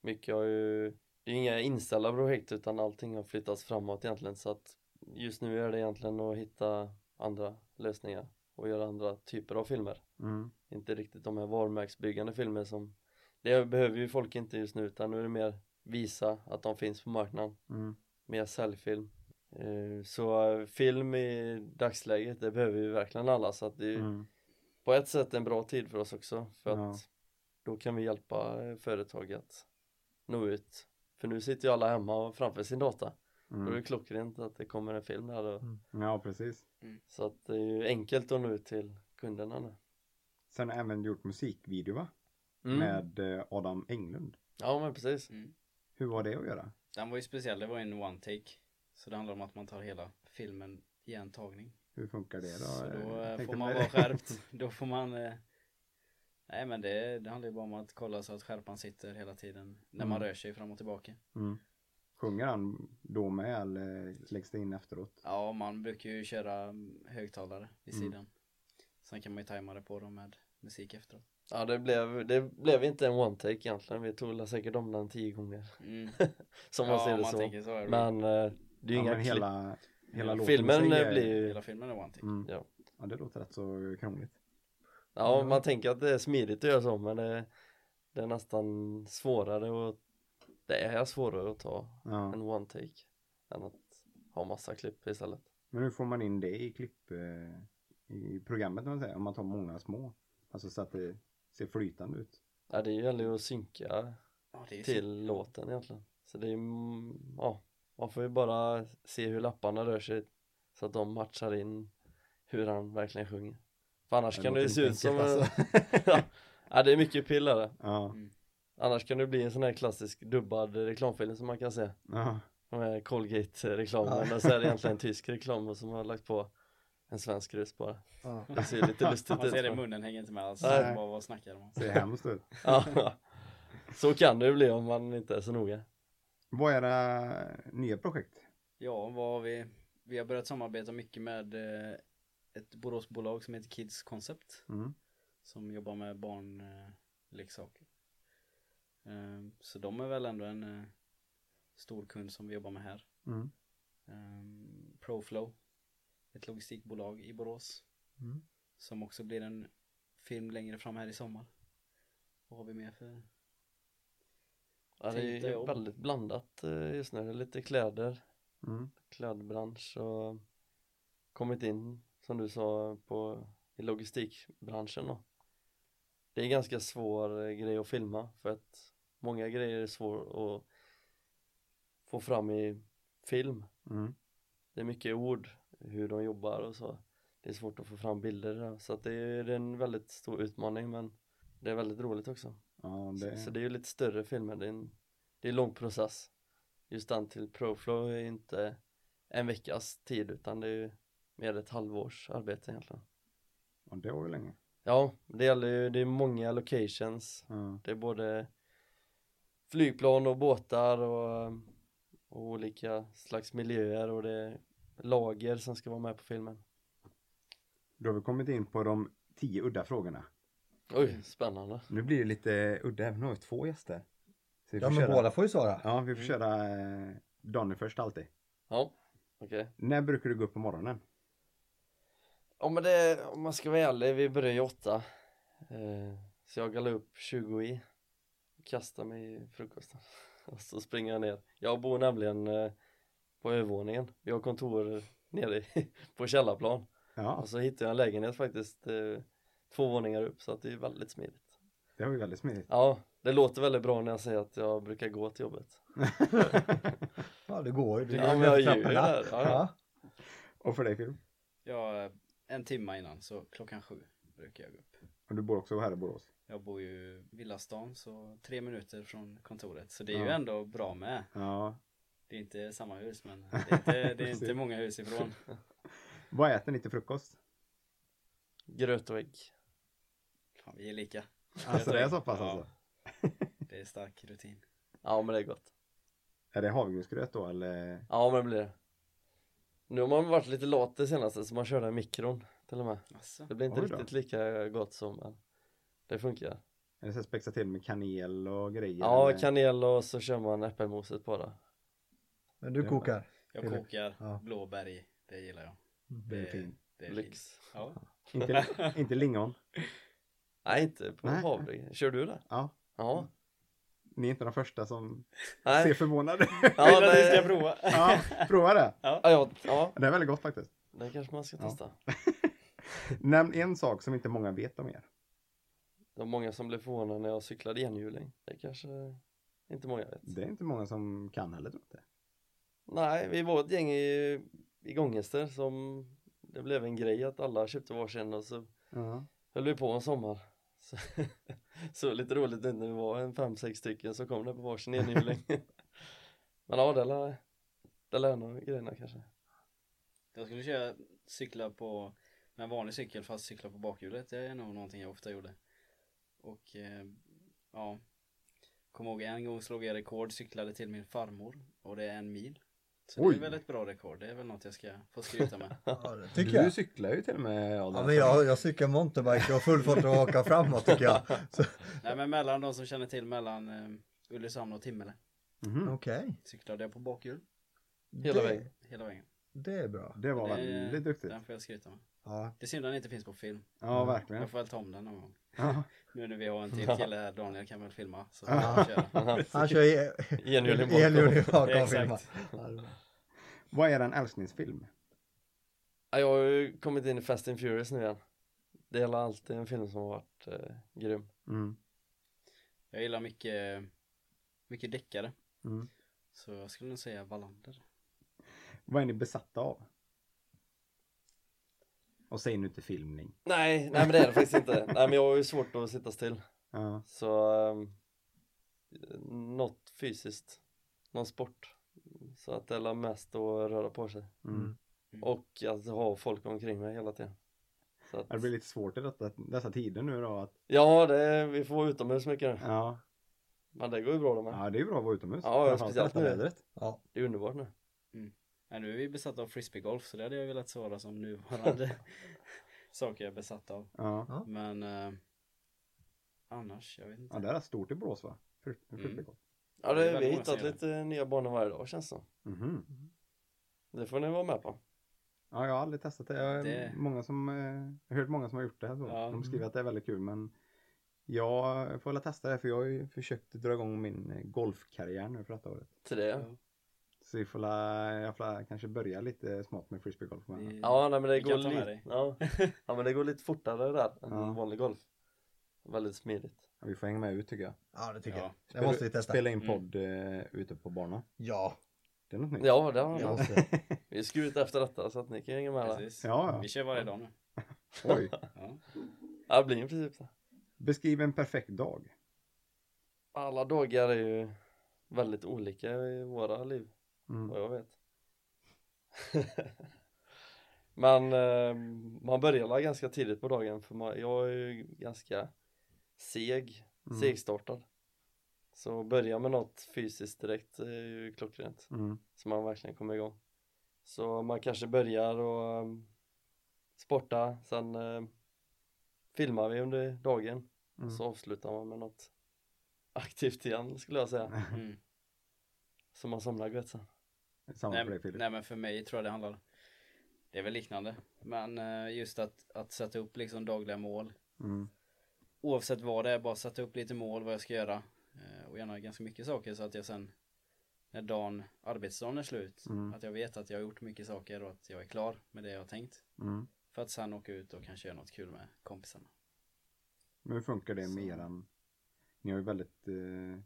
C: Mycket har ju, det är inga inställda projekt utan allting har flyttats framåt egentligen så att just nu är det egentligen att hitta andra lösningar och göra andra typer av filmer.
E: Mm.
C: inte riktigt de här varumärkesbyggande filmer som det behöver ju folk inte just nu utan nu är det mer visa att de finns på marknaden
E: Mm.
C: mer säljfilm Eh, så eh, film i dagsläget det behöver ju verkligen alla så att det är ju
E: Mm.
C: på ett sätt en bra tid för oss också för
E: Ja.
C: att då kan vi hjälpa eh, företag att nå ut för nu sitter ju alla hemma och framför sin data då är
E: Mm.
C: det klockrent att det kommer en film här och,
E: Ja precis.
C: så att det är ju enkelt att nå ut till kunderna nu
E: Sen har jag även gjort musikvideo va?
C: mm.
E: Med eh, Adam Englund.
C: ja men precis
D: Mm.
E: Hur var det att göra?
D: Den var ju speciell, det var en one take. Så det handlar om att man tar hela filmen i en tagning.
E: Hur funkar det då?
D: Så då
E: Jag
D: eh,
E: tänkte
D: får man
E: på
D: vara
E: det. [laughs]
D: skärpt. Då får man eh, Nej men det, det handlar ju bara om att kolla så att skärpan sitter hela tiden när man
E: Mm.
D: rör sig fram och tillbaka.
E: Mm. Sjunger han då med eller läggs det in efteråt?
D: Ja man brukar ju köra mm, högtalare vid
E: Mm.
D: sidan. Sen kan man ju tajma det på dem med musik efteråt.
C: Ja det blev, det blev inte en one take egentligen, vi tog väl säkert om den tio gånger
E: [laughs]
D: Mm.
C: Som man ser det
D: man
C: så
D: tänker så. är det.
C: Men eh, det är ju
E: Ja,
C: inga
E: men
C: klipp
E: hela, hela låten i
C: Filmen
E: sig är-
C: blir ju,
D: Hela filmen är one take.
E: Mm.
C: Ja.
E: Ja. det låter rätt så krångligt.
C: ja man tänker att det är smidigt att göra så men det, det är nästan svårare att Det är svårare att ta
E: Ja.
C: en one take än att ha massa klipp istället
E: Men hur får man in det i klipp eh, i programmet om man säger? Om man tar många små. Alltså så att det ser flytande ut.
C: Ja det gäller ju att synka
D: Ja, det är
C: till
D: så.
C: låten egentligen Så det är, mm, ja man får ju bara se hur lapparna rör sig så att de matchar in hur han verkligen sjunger För annars
E: Det
C: kan det ju
E: låter
C: se ut
E: inte
C: som en, [laughs]
E: enkelt,
C: ja. ja det är mycket pill är det
E: Ja.
C: Annars kan det bli en sån här klassisk dubbad reklamfilm som man kan se
E: ja.
C: De här Colgate-reklamen men så är det egentligen en tysk reklam och som har lagt på en svensk rus bara
B: Ja.
C: Det ser lite lustigt
D: Man
C: ut
D: ser det,
C: men-
D: munnen hänger inte med alls.
C: Nej.
D: Bara, vad snackar de om?
E: Ser hemskt ut. [laughs]
C: ja. Så kan det ju bli om man inte är så noga
E: Vad är era nya projekt?
D: Ja, vad har vi? Vi har börjat samarbeta mycket med eh, ett Boråsbolag som heter Kids Concept
E: Mm.
D: som jobbar med barnleksaker. Ehm, Så de är väl ändå en eh, stor kund som vi jobbar med här.
E: Mm.
D: Ehm, Proflow, ett logistikbolag i Borås
B: Mm.
D: som också blir en film längre fram här i sommar. Vad har vi mer för?
C: ja, Det är
D: Tänkte
C: ju
D: jag.
C: väldigt blandat eh, just nu, Det är lite kläder,
E: Mm.
C: klädbransch och kommit in som du sa på, i logistikbranschen då Det är en ganska svår eh, grej att filma för att många grejer är svår att få fram i film
E: Mm.
C: Det är mycket ord, hur de jobbar och så det är svårt att få fram bilder där. Så att det är det är en väldigt stor utmaning men det är väldigt roligt också.
E: Ja,
C: Så,
E: det,
C: så det är ju lite större filmer, det är en, det är en lång process. Just den till Proflow är ju inte en veckas tid utan det är ju mer ett halvårs arbete egentligen.
E: och det var ju länge.
C: Ja, det gäller ju, det är många locations,
E: Ja.
C: det är både flygplan och båtar och, och olika slags miljöer och det är lager som ska vara med på filmen.
E: Då har vi kommit in på de tio udda frågorna.
C: Oj, spännande.
E: Nu blir det lite udda även om vi har två gäster. Så vi
B: Ja
E: får
B: men
E: köra-
B: båda Mm. får ju svara.
E: Ja, vi får köra eh, Donny först alltid.
C: Ja, okej.
E: När brukar du gå upp på morgonen?
C: Ja men det, om man ska vara ärlig, vi börjar ju åtta. Eh, så jag gallar upp 20 i. Kastar mig i frukosten. [laughs] Och så springer jag ner. Jag bor nämligen eh, på övervåningen. Vi har kontor nere i, [laughs] på källarplan.
E: Ja,
C: Och
B: Alltså.
C: så hittar jag en lägenhet faktiskt eh, två våningar upp så att det är väldigt smidigt.
E: det var ju väldigt smidigt.
C: Ja, det låter väldigt bra när jag säger att jag brukar gå till jobbet.
B: Ja det går ju. Du
C: Ja,
B: kan
C: men
B: ju
C: jag
B: knapparna.
C: ljuger där. Ja, ja.
E: och för dig Filip?
D: Ja, eh, en timme innan så klockan sju brukar jag gå upp.
E: Och du bor också här i Borås?
D: Jag bor ju i villastan så tre minuter från kontoret så det är ju
E: Ja.
D: ändå bra med.
E: Ja.
D: Det är inte samma hus men det
E: [laughs]
D: är inte, det är inte många hus ifrån.
E: Vad äter ni till frukost?
C: Gröt och ägg.
D: Fan, vi är lika.
E: Alltså det är så pass
D: Ja.
E: alltså?
D: Det är stark rutin.
C: Ja men det är gott.
E: Är det havregrynsgröt då eller?
C: Ja men det blir det Nu har man varit lite lat det senaste så man kör den i mikron till och med
D: Alltså,
C: Det blir inte
E: Oj då.
C: riktigt lika gott som men det funkar
E: Är det så här spexat till med kanel och grejer?
C: Ja
E: eller?
C: kanel och så kör man äppelmoset bara
B: Men du kokar.
D: jag
B: Filip.
D: kokar
B: Ja.
D: blåbär i. Det gillar jag.
E: Det är fint.
D: det är fint.
C: Lyx
D: Ja.
E: Inte, inte lingon?
C: Nej inte på
E: Nej.
C: havre, kör du det?
E: Ja.
C: Ja
E: Ni är inte de första som ser
C: Nej
E: förvånade [laughs]
C: Ja,
D: Vill att
C: nej.
D: du ska prova?
E: Ja, prova det.
C: Ja, ja, ja,
E: Det är väldigt gott faktiskt.
C: det kanske man ska
E: Ja.
C: testa
E: Nämn en sak som inte många vet om er.
C: Det var många som blev förvånade när jag cyklade enhjuling Det kanske inte många vet
E: Det är inte många som kan heller tror jag inte.
C: Nej, vi var ett gäng i, i Gångester som det blev en grej att alla köpte varsin och så
E: Ja.
C: höll vi på en sommar så, [laughs] så lite roligt nu när vi var en fem, sex stycken så kom det på varsin enhjuling Men ja, det lär, det lär nog grejerna kanske
D: Jag skulle köra cykla på med en vanlig cykel fast cykla på bakhjulet. Det är nog någonting jag ofta gjorde. Och eh, ja, kom ihåg en gång slog jag rekord, cyklade till min farmor och det är en mil. Så
E: Oj.
D: det är väl ett bra rekord. Det är väl något jag ska få
E: [laughs]
D: skryta med.
B: Ja, det
E: Du
B: tycker jag.
E: cyklar ju till och med Adam.
B: Ja, men jag, jag cyklar mountainbike, jag har full fart att åka framåt tycker jag. Så-
D: Nej men mellan de som känner till mellan eh, Ulricehamn och Timmele
E: Mhm.
B: Okej.
D: cyklade jag på bakhjul
C: Hela
B: Det-
C: vägen
D: hela vägen.
B: Det är bra.
E: Det var
D: Det-
E: väldigt duktigt.
D: Den får jag skryta med.
B: Ja.
D: Det är synd att den inte finns på film.
E: Ja, verkligen.
D: Jag får väl ta om den någon gång.
E: Ja.
D: Nu när vi har en till
E: [laughs]
D: kille här, Daniel kan väl filma. Så kan
E: Ja.
D: vi köra.
B: Han
E: [laughs]
B: kör i-
C: Enhjuling
B: elhjul
C: bakom
B: i bakom
D: Exakt.
B: filmen. Ja, det är bra.
E: Vad är en älsklingsfilm?
C: ja, Jag har ju kommit in i Fast and Furious nu igen Det gäller alltid en film som har varit eh, grym
E: Mm.
D: Jag gillar mycket, mycket deckare.
E: Mm.
D: Så jag skulle nog säga Wallander.
E: Vad är ni besatta av? Och säg nu inte filmning.
C: Nej, nej men det är det faktiskt inte Nej men jag har ju svårt att sitta still
E: Ja.
C: Så um, något fysiskt, någon sport. Så att det är mest att röra på sig.
E: Mm.
C: Och att ha folk omkring mig hela tiden. Så att,
E: Det blir lite svårt i detta, dessa tider nu då. Att,
C: Ja, det är, vi får vara utomhus mycket nu.
E: ja.
C: Men det går ju bra det med.
E: ja, det är ju bra att vara utomhus.
C: Ja,
E: Framförallt i
C: speciellt
E: detta
C: nu.
E: vädret.
B: Ja.
C: Det är underbart nu.
D: Nej, nu är vi besatta av frisbeegolf så det hade jag velat svara
E: [laughs]
D: som nuvarande saker jag är besatt av.
E: Ja.
B: Ja.
D: Men eh, annars, jag vet
E: ja,
D: inte.
E: det är stort i Borås va? För, för
D: Mm.
E: frisbeegolf.
C: Ja,
D: Det är
C: det, vi
D: väldigt
C: har
D: många som
C: hittat
D: gör
C: lite nya banor varje dag känns det som.
E: Mhm.
C: Det får ni vara med på.
E: Ja, jag har aldrig testat det. Jag,
D: Det-
E: Många som, eh, jag har hört många som har gjort det. här Så.
D: Ja. mm.
E: De skriver att det är väldigt kul men jag får väl testa det för jag har ju försökt dra igång min eh, golfkarriär nu för detta året.
C: Till det. Ja,
D: Ja.
E: Så vi får la, jag får la, kanske börja lite smått med frisbeegolf. men-
D: Vi-
C: ja nej, men det
D: Vi kan
C: går
D: ta med
C: lite
D: dig.
C: ja. ja, men det går lite fortare där än
E: Ja.
C: vanlig golf. Väldigt smidigt.
E: Ja, vi får hänga med ut tycker jag.
B: ja, det tycker
D: Ja.
B: jag. Det måste vi testa.
E: Spela in
D: Mm.
E: podd eh, ute på banan.
B: Ja,
E: Det är något nytt.
C: Ja, det har
B: Ja.
C: ja. Vi är skut efter detta så att ni kan hänga med alla.
D: Precis.
E: Ja,
D: Vi
E: ja.
D: kör varje dag nu.
E: Oj. [laughs]
D: Ja.
C: Ja, det blir i princip så.
E: Beskriv en perfekt dag.
C: Alla dagar är ju väldigt olika i våra liv.
E: Mm.
C: vad jag vet. [laughs] Men eh, man börjar la ganska tidigt på dagen för man, jag är ju ganska seg,
E: Mm.
C: segstartad. Så börja med något fysiskt direkt är ju klockrent
E: Mm.
C: så man verkligen kommer igång. Så man kanske börjar och um, sporta, sen eh, filmar vi under dagen
E: Mm.
C: så avslutar man med något aktivt igen skulle jag säga.
E: [laughs]
D: Mm.
C: Så man somnar gött sen.
E: Samma
D: Nej,
E: för dig Filip.
D: nej men för mig tror jag det handlar Det är väl liknande Men eh, just att, att sätta upp liksom dagliga mål
E: Mm.
D: Oavsett vad det är, bara sätta upp lite mål vad jag ska göra eh, Och gärna ganska mycket saker så att jag sen När dagen, arbetsdagen är slut
E: Mm.
D: Att jag vet att jag har gjort mycket saker och att jag är klar med det jag har tänkt
E: Mm.
D: För att sen åka ut och kanske göra något kul med kompisarna
E: Men hur funkar det med
D: Så.
E: eran? Ni har ju väldigt eh,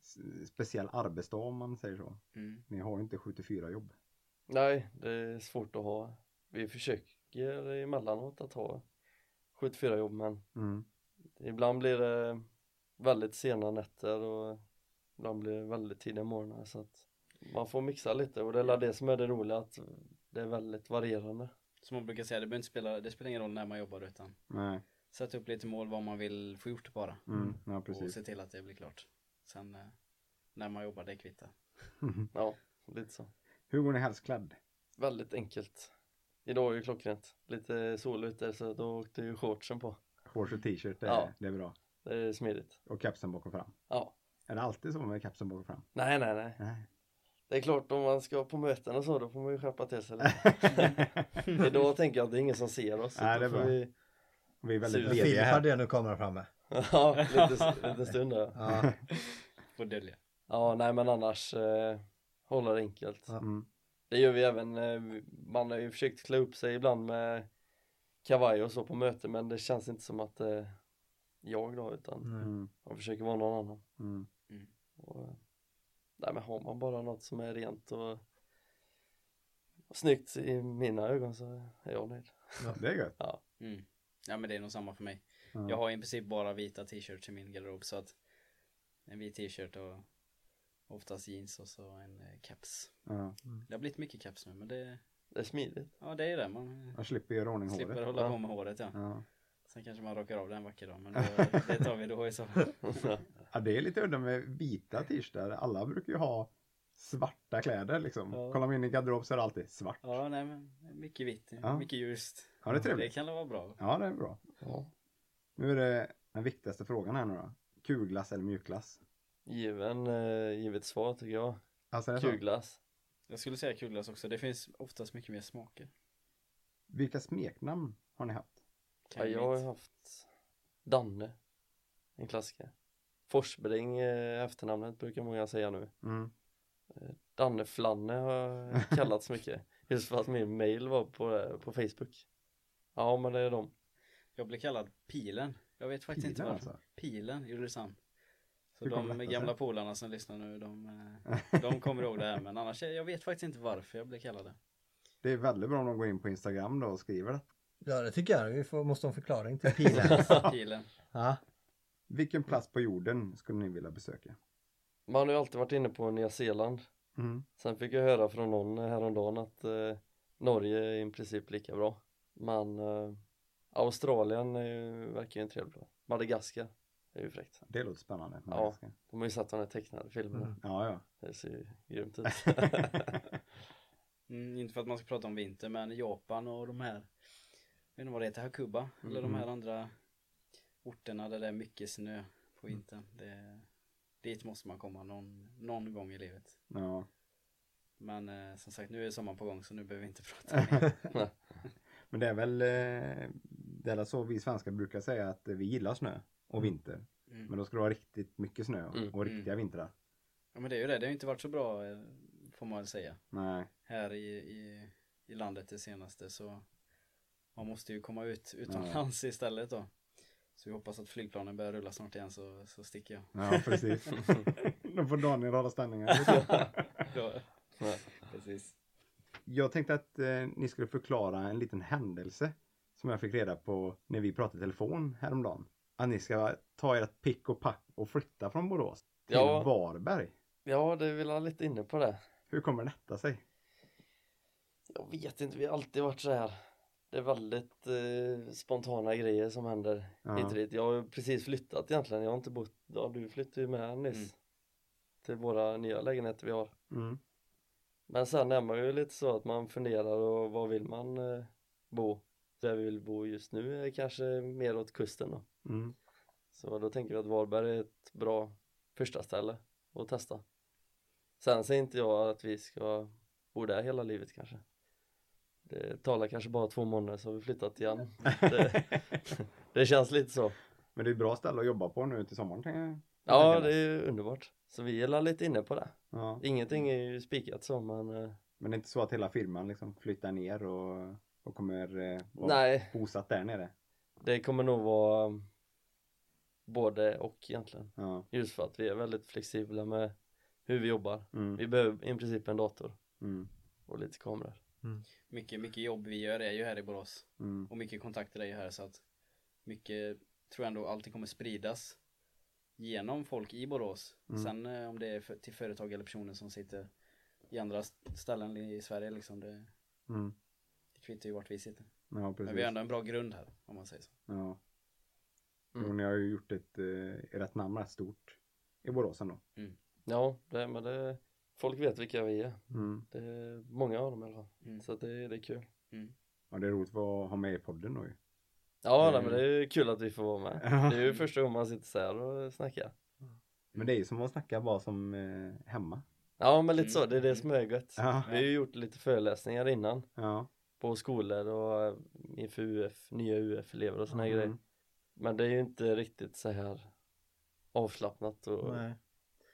E: s- speciell arbetsdag om man säger så.
D: mm.
E: Ni har ju inte 74 jobb.
C: Nej, det är svårt att ha. Vi försöker emellanåt att ha 74 jobb men
E: Mm.
C: ibland blir det väldigt sena nätter och ibland blir det väldigt tidiga morgnar så att man får mixa lite och det är väl det som är det roliga att det är väldigt varierande.
D: Som man brukar säga, det, behöver inte spela, det spelar ingen roll när man jobbar utan
E: Nej.
D: Sätta upp lite mål vad man vill få gjort bara
E: Mm. Ja,
D: Och
E: precis.
D: se till att det blir klart Sen eh, när man jobbar, det kvittar
C: Ja, lite så.
E: Hur går ni helst klädd?
C: Väldigt enkelt. Idag är ju klockrent. Lite sol ute så då åkte ju shortsen på.
E: Shorts och t-shirt, det,
C: Ja.
E: det är bra.
C: Det är smidigt.
E: Och kapsen bak och fram.
C: Ja.
E: Är det alltid så med kapsen bak och fram?
C: Nej, nej, nej.
E: Nej.
C: Det är klart om man ska på möten och så då får man ju skärpa till sig lite. Idag tänker jag att det är ingen som ser oss. så
E: Nej,
C: då
E: det är
C: får
E: bra.
C: vi...
E: [laughs]
C: [laughs]
E: Vi är väldigt
C: Sur.
E: lediga här.
B: Filmade jag nu kameran framme?
C: ja, lite, lite stund där.
B: Ja,
D: Får dölja
C: Ja, nej men annars eh, hålla det enkelt.
B: Ja.
E: Mm.
C: Det gör vi även, eh, man har ju försökt klä upp sig ibland med kavaj och så på möten men det känns inte som att eh, jag då utan
B: mm.
E: Mm.
C: man försöker vara någon annan.
E: Mm.
C: Och, eh, nej men har man bara något som är rent och, och snyggt i mina ögon så är jag nöjd.
E: Det är gött.
D: Mm. Ja men det är nog samma för mig.
E: Ja.
D: Jag har i princip bara vita t-shirts i min garderob så att en vit t-shirt och oftast jeans och så en eh, keps.
E: Ja.
D: Det har blivit mycket keps nu men det,
C: Det är smidigt. [laughs]
D: ja det är det man
E: Jag slipper göra i ordning
D: slipper
E: håret.
D: hålla
C: ja.
D: på med håret ja.
E: Ja.
D: Sen kanske man rakar av det en vacker
E: [laughs]
D: dag men då, det tar vi då i så fall.
E: ja, det är lite udda med vita t-shirtar. Alla brukar ju ha svarta kläder liksom.
C: Ja.
E: Kollar man in i garderob så är det alltid svart. Ja,
D: Ja nej men mycket vitt,
E: Ja.
D: mycket ljust.
E: det är
D: Det
E: trevligt.
D: kan väl vara bra.
E: Ja, det är bra.
C: ja.
E: Nu är det den viktigaste frågan här nu då. Kulglass eller mjukglass?
C: Given, eh, givet svar tycker jag.
E: Alltså, är det så?
C: Kulglass.
D: Jag skulle säga kulglass också, det finns oftast mycket mer smaker.
E: Vilka smeknamn har ni haft?
C: Ja, jag har ju haft Danne, en klassiker. Forsbring, eh, efternamnet brukar många säga nu.
E: Mm.
C: Danne Flanne har kallats mycket. Just för att min mail var på, på Facebook. Ja, men det är de.
D: jag blev kallad pilen. Jag vet faktiskt inte
E: Pilar,
D: varför.
E: alltså.
D: Pilen i Ulricehamn. Så
E: Hur kom
D: de
E: detta
D: gamla
E: sig?
D: polarna som lyssnar nu, de, eh, de kommer ihåg det här men annars, jag vet faktiskt inte varför jag blev kallad det.
E: [laughs] Det är väldigt bra om de går in på Instagram då och skriver det.
B: ja det tycker jag. Vi får, måste ha en förklaring till pilen.
D: Pilen.
B: Ja.
E: Vilken plats på jorden skulle ni vilja besöka?
C: Man har ju alltid varit inne på Nya Zeeland.
E: Mm.
C: Sen fick jag höra från någon häromdagen att eh, Norge är i princip lika bra. Men eh, Australien är ju, verkar ju en trevlig plats. Madagaskar är ju fräckt.
E: Det låter spännande.
C: Ja. De har ju sett de här tecknade filmerna.
B: Mm.
E: Ja,
D: [laughs]
E: ja.
C: Det ser ju grymt
E: [laughs]
C: ut.
D: Mm, inte för att man ska prata om vinter men Japan och de här, jag vet inte vad det heter, Hakuba eller de
E: Mhm.
D: här andra orterna där det är mycket snö på vintern. Det, dit måste man komma någon, någon gång i livet.
E: ja.
D: Men eh, som sagt, nu är sommaren på gång så nu behöver vi inte prata mer.
E: [laughs] Men det är väl eh, det är väl så vi svenskar brukar säga att vi gillar snö och vinter.
D: Mm.
E: Men då ska det vara riktigt mycket snö och,
C: Mm.
E: och riktiga vintrar.
D: Ja men det är ju det, det har ju inte varit så bra eh, får man väl säga.
E: Nej.
D: här i, i, i landet det senaste så man måste ju komma ut
E: Ja.
D: utomlands istället då. Så vi hoppas att flygplanen börjar rulla snart igen så, så sticker
C: [laughs]
D: jag. [laughs]
E: Ja, precis. då får Daniel hålla ställningen.
D: Då,
C: Nej.
D: Precis.
E: Jag tänkte att eh, ni skulle förklara en liten händelse som jag fick reda på när vi pratade i telefon häromdagen. Att ni ska ta ert pick och pack och flytta från Borås till
C: Ja.
E: Varberg.
C: Ja, det vill han lite inne på det.
E: Hur kommer detta sig?
C: Jag vet inte, vi har alltid varit så här. Det är väldigt eh, spontana grejer som händer
E: Ja.
C: hit och dit. Jag har ju precis flyttat egentligen. Jag har inte bott, ja du flyttade ju med nyss.
D: Mm.
C: Till våra nya lägenheter vi har.
E: Mm.
C: Men sen är man ju lite så att man funderar och var vill man eh, bo? Där vi vill bo just nu är kanske mer åt kusten då.
E: Mm.
C: Så då tänker jag att Varberg är ett bra första ställe att testa. Sen säger inte jag att vi ska bo där hela livet kanske. Det talar kanske bara två månader så har vi flyttat [laughs] igen. Det, det känns lite så.
E: Men det är ett bra ställe att jobba på nu till sommaren. tänker jag.
C: Ja, det är underbart. Så vi gillar lite inne på det.
E: Ja.
C: Ingenting är ju spikat så, men eh,
E: Men det är inte så att hela firman liksom flyttar ner och, och kommer eh, vara
C: nej,
E: bosatt där nere?
C: det kommer nog vara um, både och egentligen.
E: Ja.
C: Just för att vi är väldigt flexibla med hur vi jobbar.
E: Mm.
C: Vi behöver i princip en dator
E: Mm.
C: och lite kameror.
D: Mycket, mycket jobb vi gör är ju här i Borås.
E: Mm.
D: Och mycket kontakter är ju här så att mycket tror jag ändå alltid kommer spridas genom folk i Borås.
E: Mm.
D: Sen eh, om det är för, till företag eller personer som sitter i andra st- ställen i Sverige liksom. Det,
E: Mm.
D: det kvittar ju vart vi sitter.
E: Ja, precis.
D: Men vi har ändå en bra grund här om man säger så.
E: Ja. Jo,
C: Mm.
E: ni har ju gjort ett, eh, ert namn rätt stort i Borås ändå.
C: Ja, det, men det, folk vet vilka vi är.
E: Mm.
C: Det är många av dem i alla fall.
D: Mm.
C: Så att det, det är kul.
E: Ja, det är roligt att ha med i podden då ju.
C: Ja,
E: Mm.
C: nej, men det är kul att vi får vara med.
E: [laughs] Ja.
C: Det är ju första gången man sitter så här och snackar.
E: Men det är ju som att snacka bara som eh, hemma.
C: Ja, men lite så.
D: Mm.
C: Det är det som är gött.
E: Ja.
C: Vi har ju gjort lite föreläsningar innan
E: Ja.
C: på skolor och eh, inför UF, nya UF-elever och såna här grejer. Men det är ju inte riktigt så här avslappnat och
B: Nej.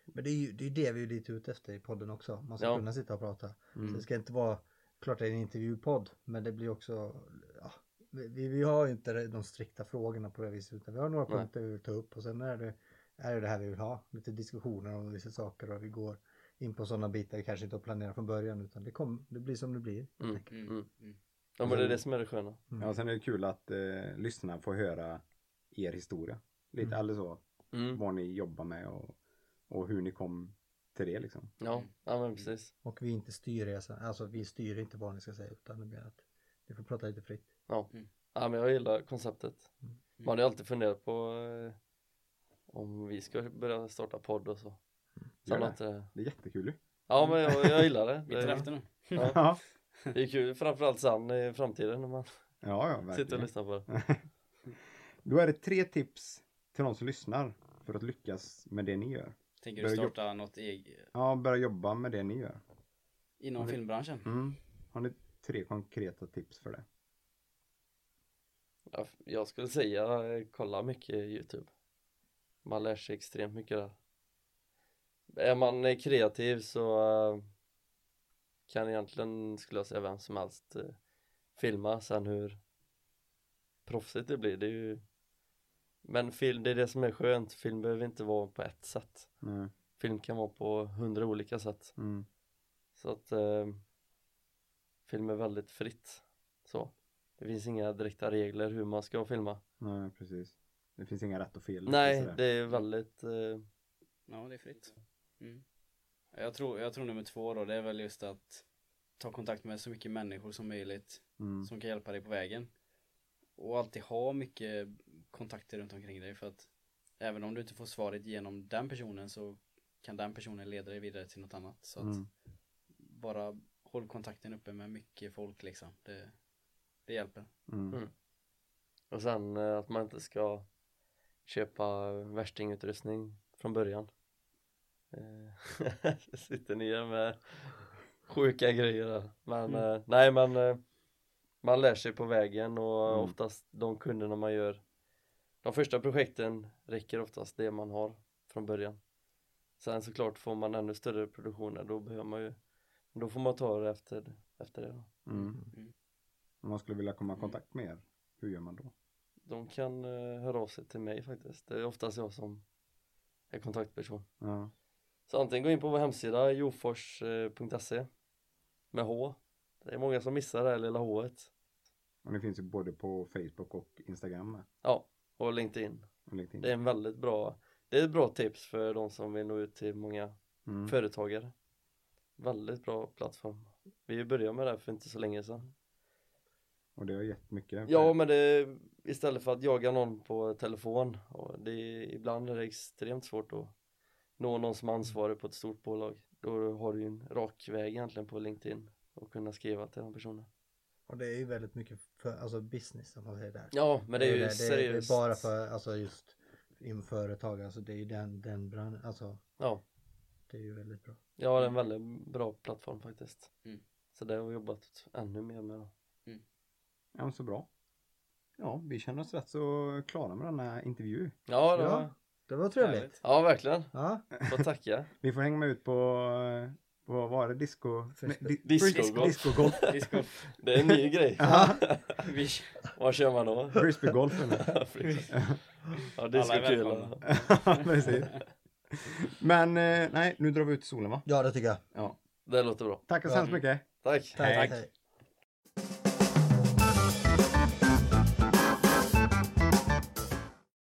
B: Men det är ju det, är ju det vi är lite ute efter i podden också. Man ska
C: Ja.
B: kunna sitta och prata.
E: Mm.
B: Så det ska inte vara, klart det är en intervjupodd, men det blir också, ja, vi, vi har ju inte de strikta frågorna på det viset. Utan vi har några
C: Nej.
B: punkter vi vill ta upp och sen är det, är det det här vi vill ha. Lite diskussioner om vissa saker och vi går in på sådana bitar vi kanske inte har planerat från början. Utan det, kom, det blir som det blir. Mm.
C: Mm.
D: Mm.
C: Mm.
D: Mm.
C: Ja, men det är det som är det sköna.
E: Ja, sen är det kul att eh, lyssnarna får höra er historia. Lite
B: Mm.
E: alldeles så.
C: Mm.
E: Vad ni jobbar med och, och hur ni kom till det liksom.
C: Ja, ja, men precis.
B: Och vi inte styr resan, alltså vi styr inte vad ni ska säga utan det blir att ni får prata lite fritt.
C: Ja, men jag gillar konceptet.
B: Mm.
C: Man hade ju alltid funderat på eh, om vi ska börja starta podd och så.
E: Mm. Gör
C: Sen
E: det.
C: att, eh,
E: Det är jättekul ju.
C: ja, men jag, jag gillar det.
D: Mitt i
E: Eh,
C: Det,
D: efter nu.
C: ja,
E: [laughs] Ja,
C: det är kul, framförallt sen i framtiden när man
E: ja, ja
C: sitter och
E: verkligen.
C: lyssnar på det.
E: Då är det tre tips till de som lyssnar för att lyckas med det ni gör.
D: Tänker du
E: Börja jobba.
D: starta något eget
E: Ja, börja jobba med det ni gör.
D: inom
E: Ja, det-
D: filmbranschen?
E: Mm. Har ni tre konkreta tips för det?
C: Ja, Jag skulle säga eh, kolla mycket YouTube. Man lär sig extremt mycket där. Är man eh, kreativ så eh, kan egentligen, skulle jag säga, vem som helst eh, filma. Sen hur proffsigt det blir, det är ju... Men film, det är det som är skönt. Film behöver inte vara på ett sätt.
E: Mm.
C: Film kan vara på hundra olika sätt.
E: Mm.
C: Så att eh, film är väldigt fritt. Så. Det finns inga direkta regler hur man ska filma.
E: Nej, precis. Det finns inga rätt typ, och fel.
C: Nej,
E: sådär.
C: det är väldigt eh,
D: Ja, det är fritt. Mm. Jag, tror, jag tror nummer två då, det är väl just att ta kontakt med så mycket människor som möjligt
E: Mm.
D: som kan hjälpa dig på vägen. Och alltid ha mycket kontakter runt omkring dig för att även om du inte får svaret genom den personen så kan den personen leda dig vidare till något annat. Så att
E: Mm.
D: bara håll kontakten uppe med mycket folk liksom. Det, det hjälper.
E: Mm.
C: Mm. och sen eh, att man inte ska köpa värstingutrustning från början. Eh, [laughs] sitter ni här med sjuka grejer där. Men
E: Mm.
C: eh, nej, men eh, man lär sig på vägen och
E: Mm.
C: oftast de kunderna man gör de första projekten räcker oftast det man har från början. Sen såklart får man ännu större produktioner då behöver man ju då får man ta det efter, efter det. Då.
E: Mm. Om man skulle vilja
C: Mm.
E: komma i kontakt med er, hur gör man då?
C: De kan eh, höra av sig till mig faktiskt. Det är oftast jag som är kontaktperson.
E: Ja.
C: Så antingen gå in på vår hemsida jofors.se med H. Det är många som missar det här lilla H.
E: Och det finns ju både på Facebook och Instagram med.
C: Ja, och LinkedIn.
E: Och LinkedIn.
C: Det är en väldigt bra Det är ett bra tips för de som vill nå ut till många
E: Mm.
C: företagare. Väldigt bra plattform. Vi började med det här för inte så länge sedan.
E: Och det har gett mycket.
C: Ja men det istället för att jaga någon på telefon och det är, ibland är det extremt svårt att nå någon som är ansvarig på ett stort bolag. Då har du ju en rak väg egentligen på LinkedIn och kunna skriva till den personen.
B: Och det är ju väldigt mycket för, alltså business om man säger där.
C: Ja men det är ju
B: det, det, det
C: seriöst.
B: är bara för, alltså just inom företag, alltså det är ju den, den branschen, alltså
C: Ja,
B: det är ju väldigt bra.
C: jag har en väldigt bra plattform faktiskt.
D: Mm.
C: Så det har vi jobbat ännu mer med då.
E: ja men så bra. Ja, vi känner oss rätt så klara med denna intervju.
C: Ja, det
B: Ja.
C: var,
B: Det var trevligt.
D: Härligt.
C: ja verkligen.
B: Ja,
C: Får tacka.
E: Vi får hänga med ut på, eh, på vad var det, disco?
B: Frisbee.
E: nej, di-
C: Discogolf.
E: frisbee- Discogolf.
D: Disco.
C: Det är en ny grej. [laughs]
E: Ja,
D: Vi,
C: Vad kör man [laughs] då?
E: frisbeegolf eller?
C: ja, det är
D: Alla
C: så
D: är
C: kul.
D: välkomna.
E: Ja, precis. Men eh, nej, nu drar vi ut i solen va?
B: ja det tycker jag.
E: Ja.
C: Det låter bra.
E: Tackar så hemskt mycket.
C: Tack.
B: Tack.
E: Tack.
B: Tack.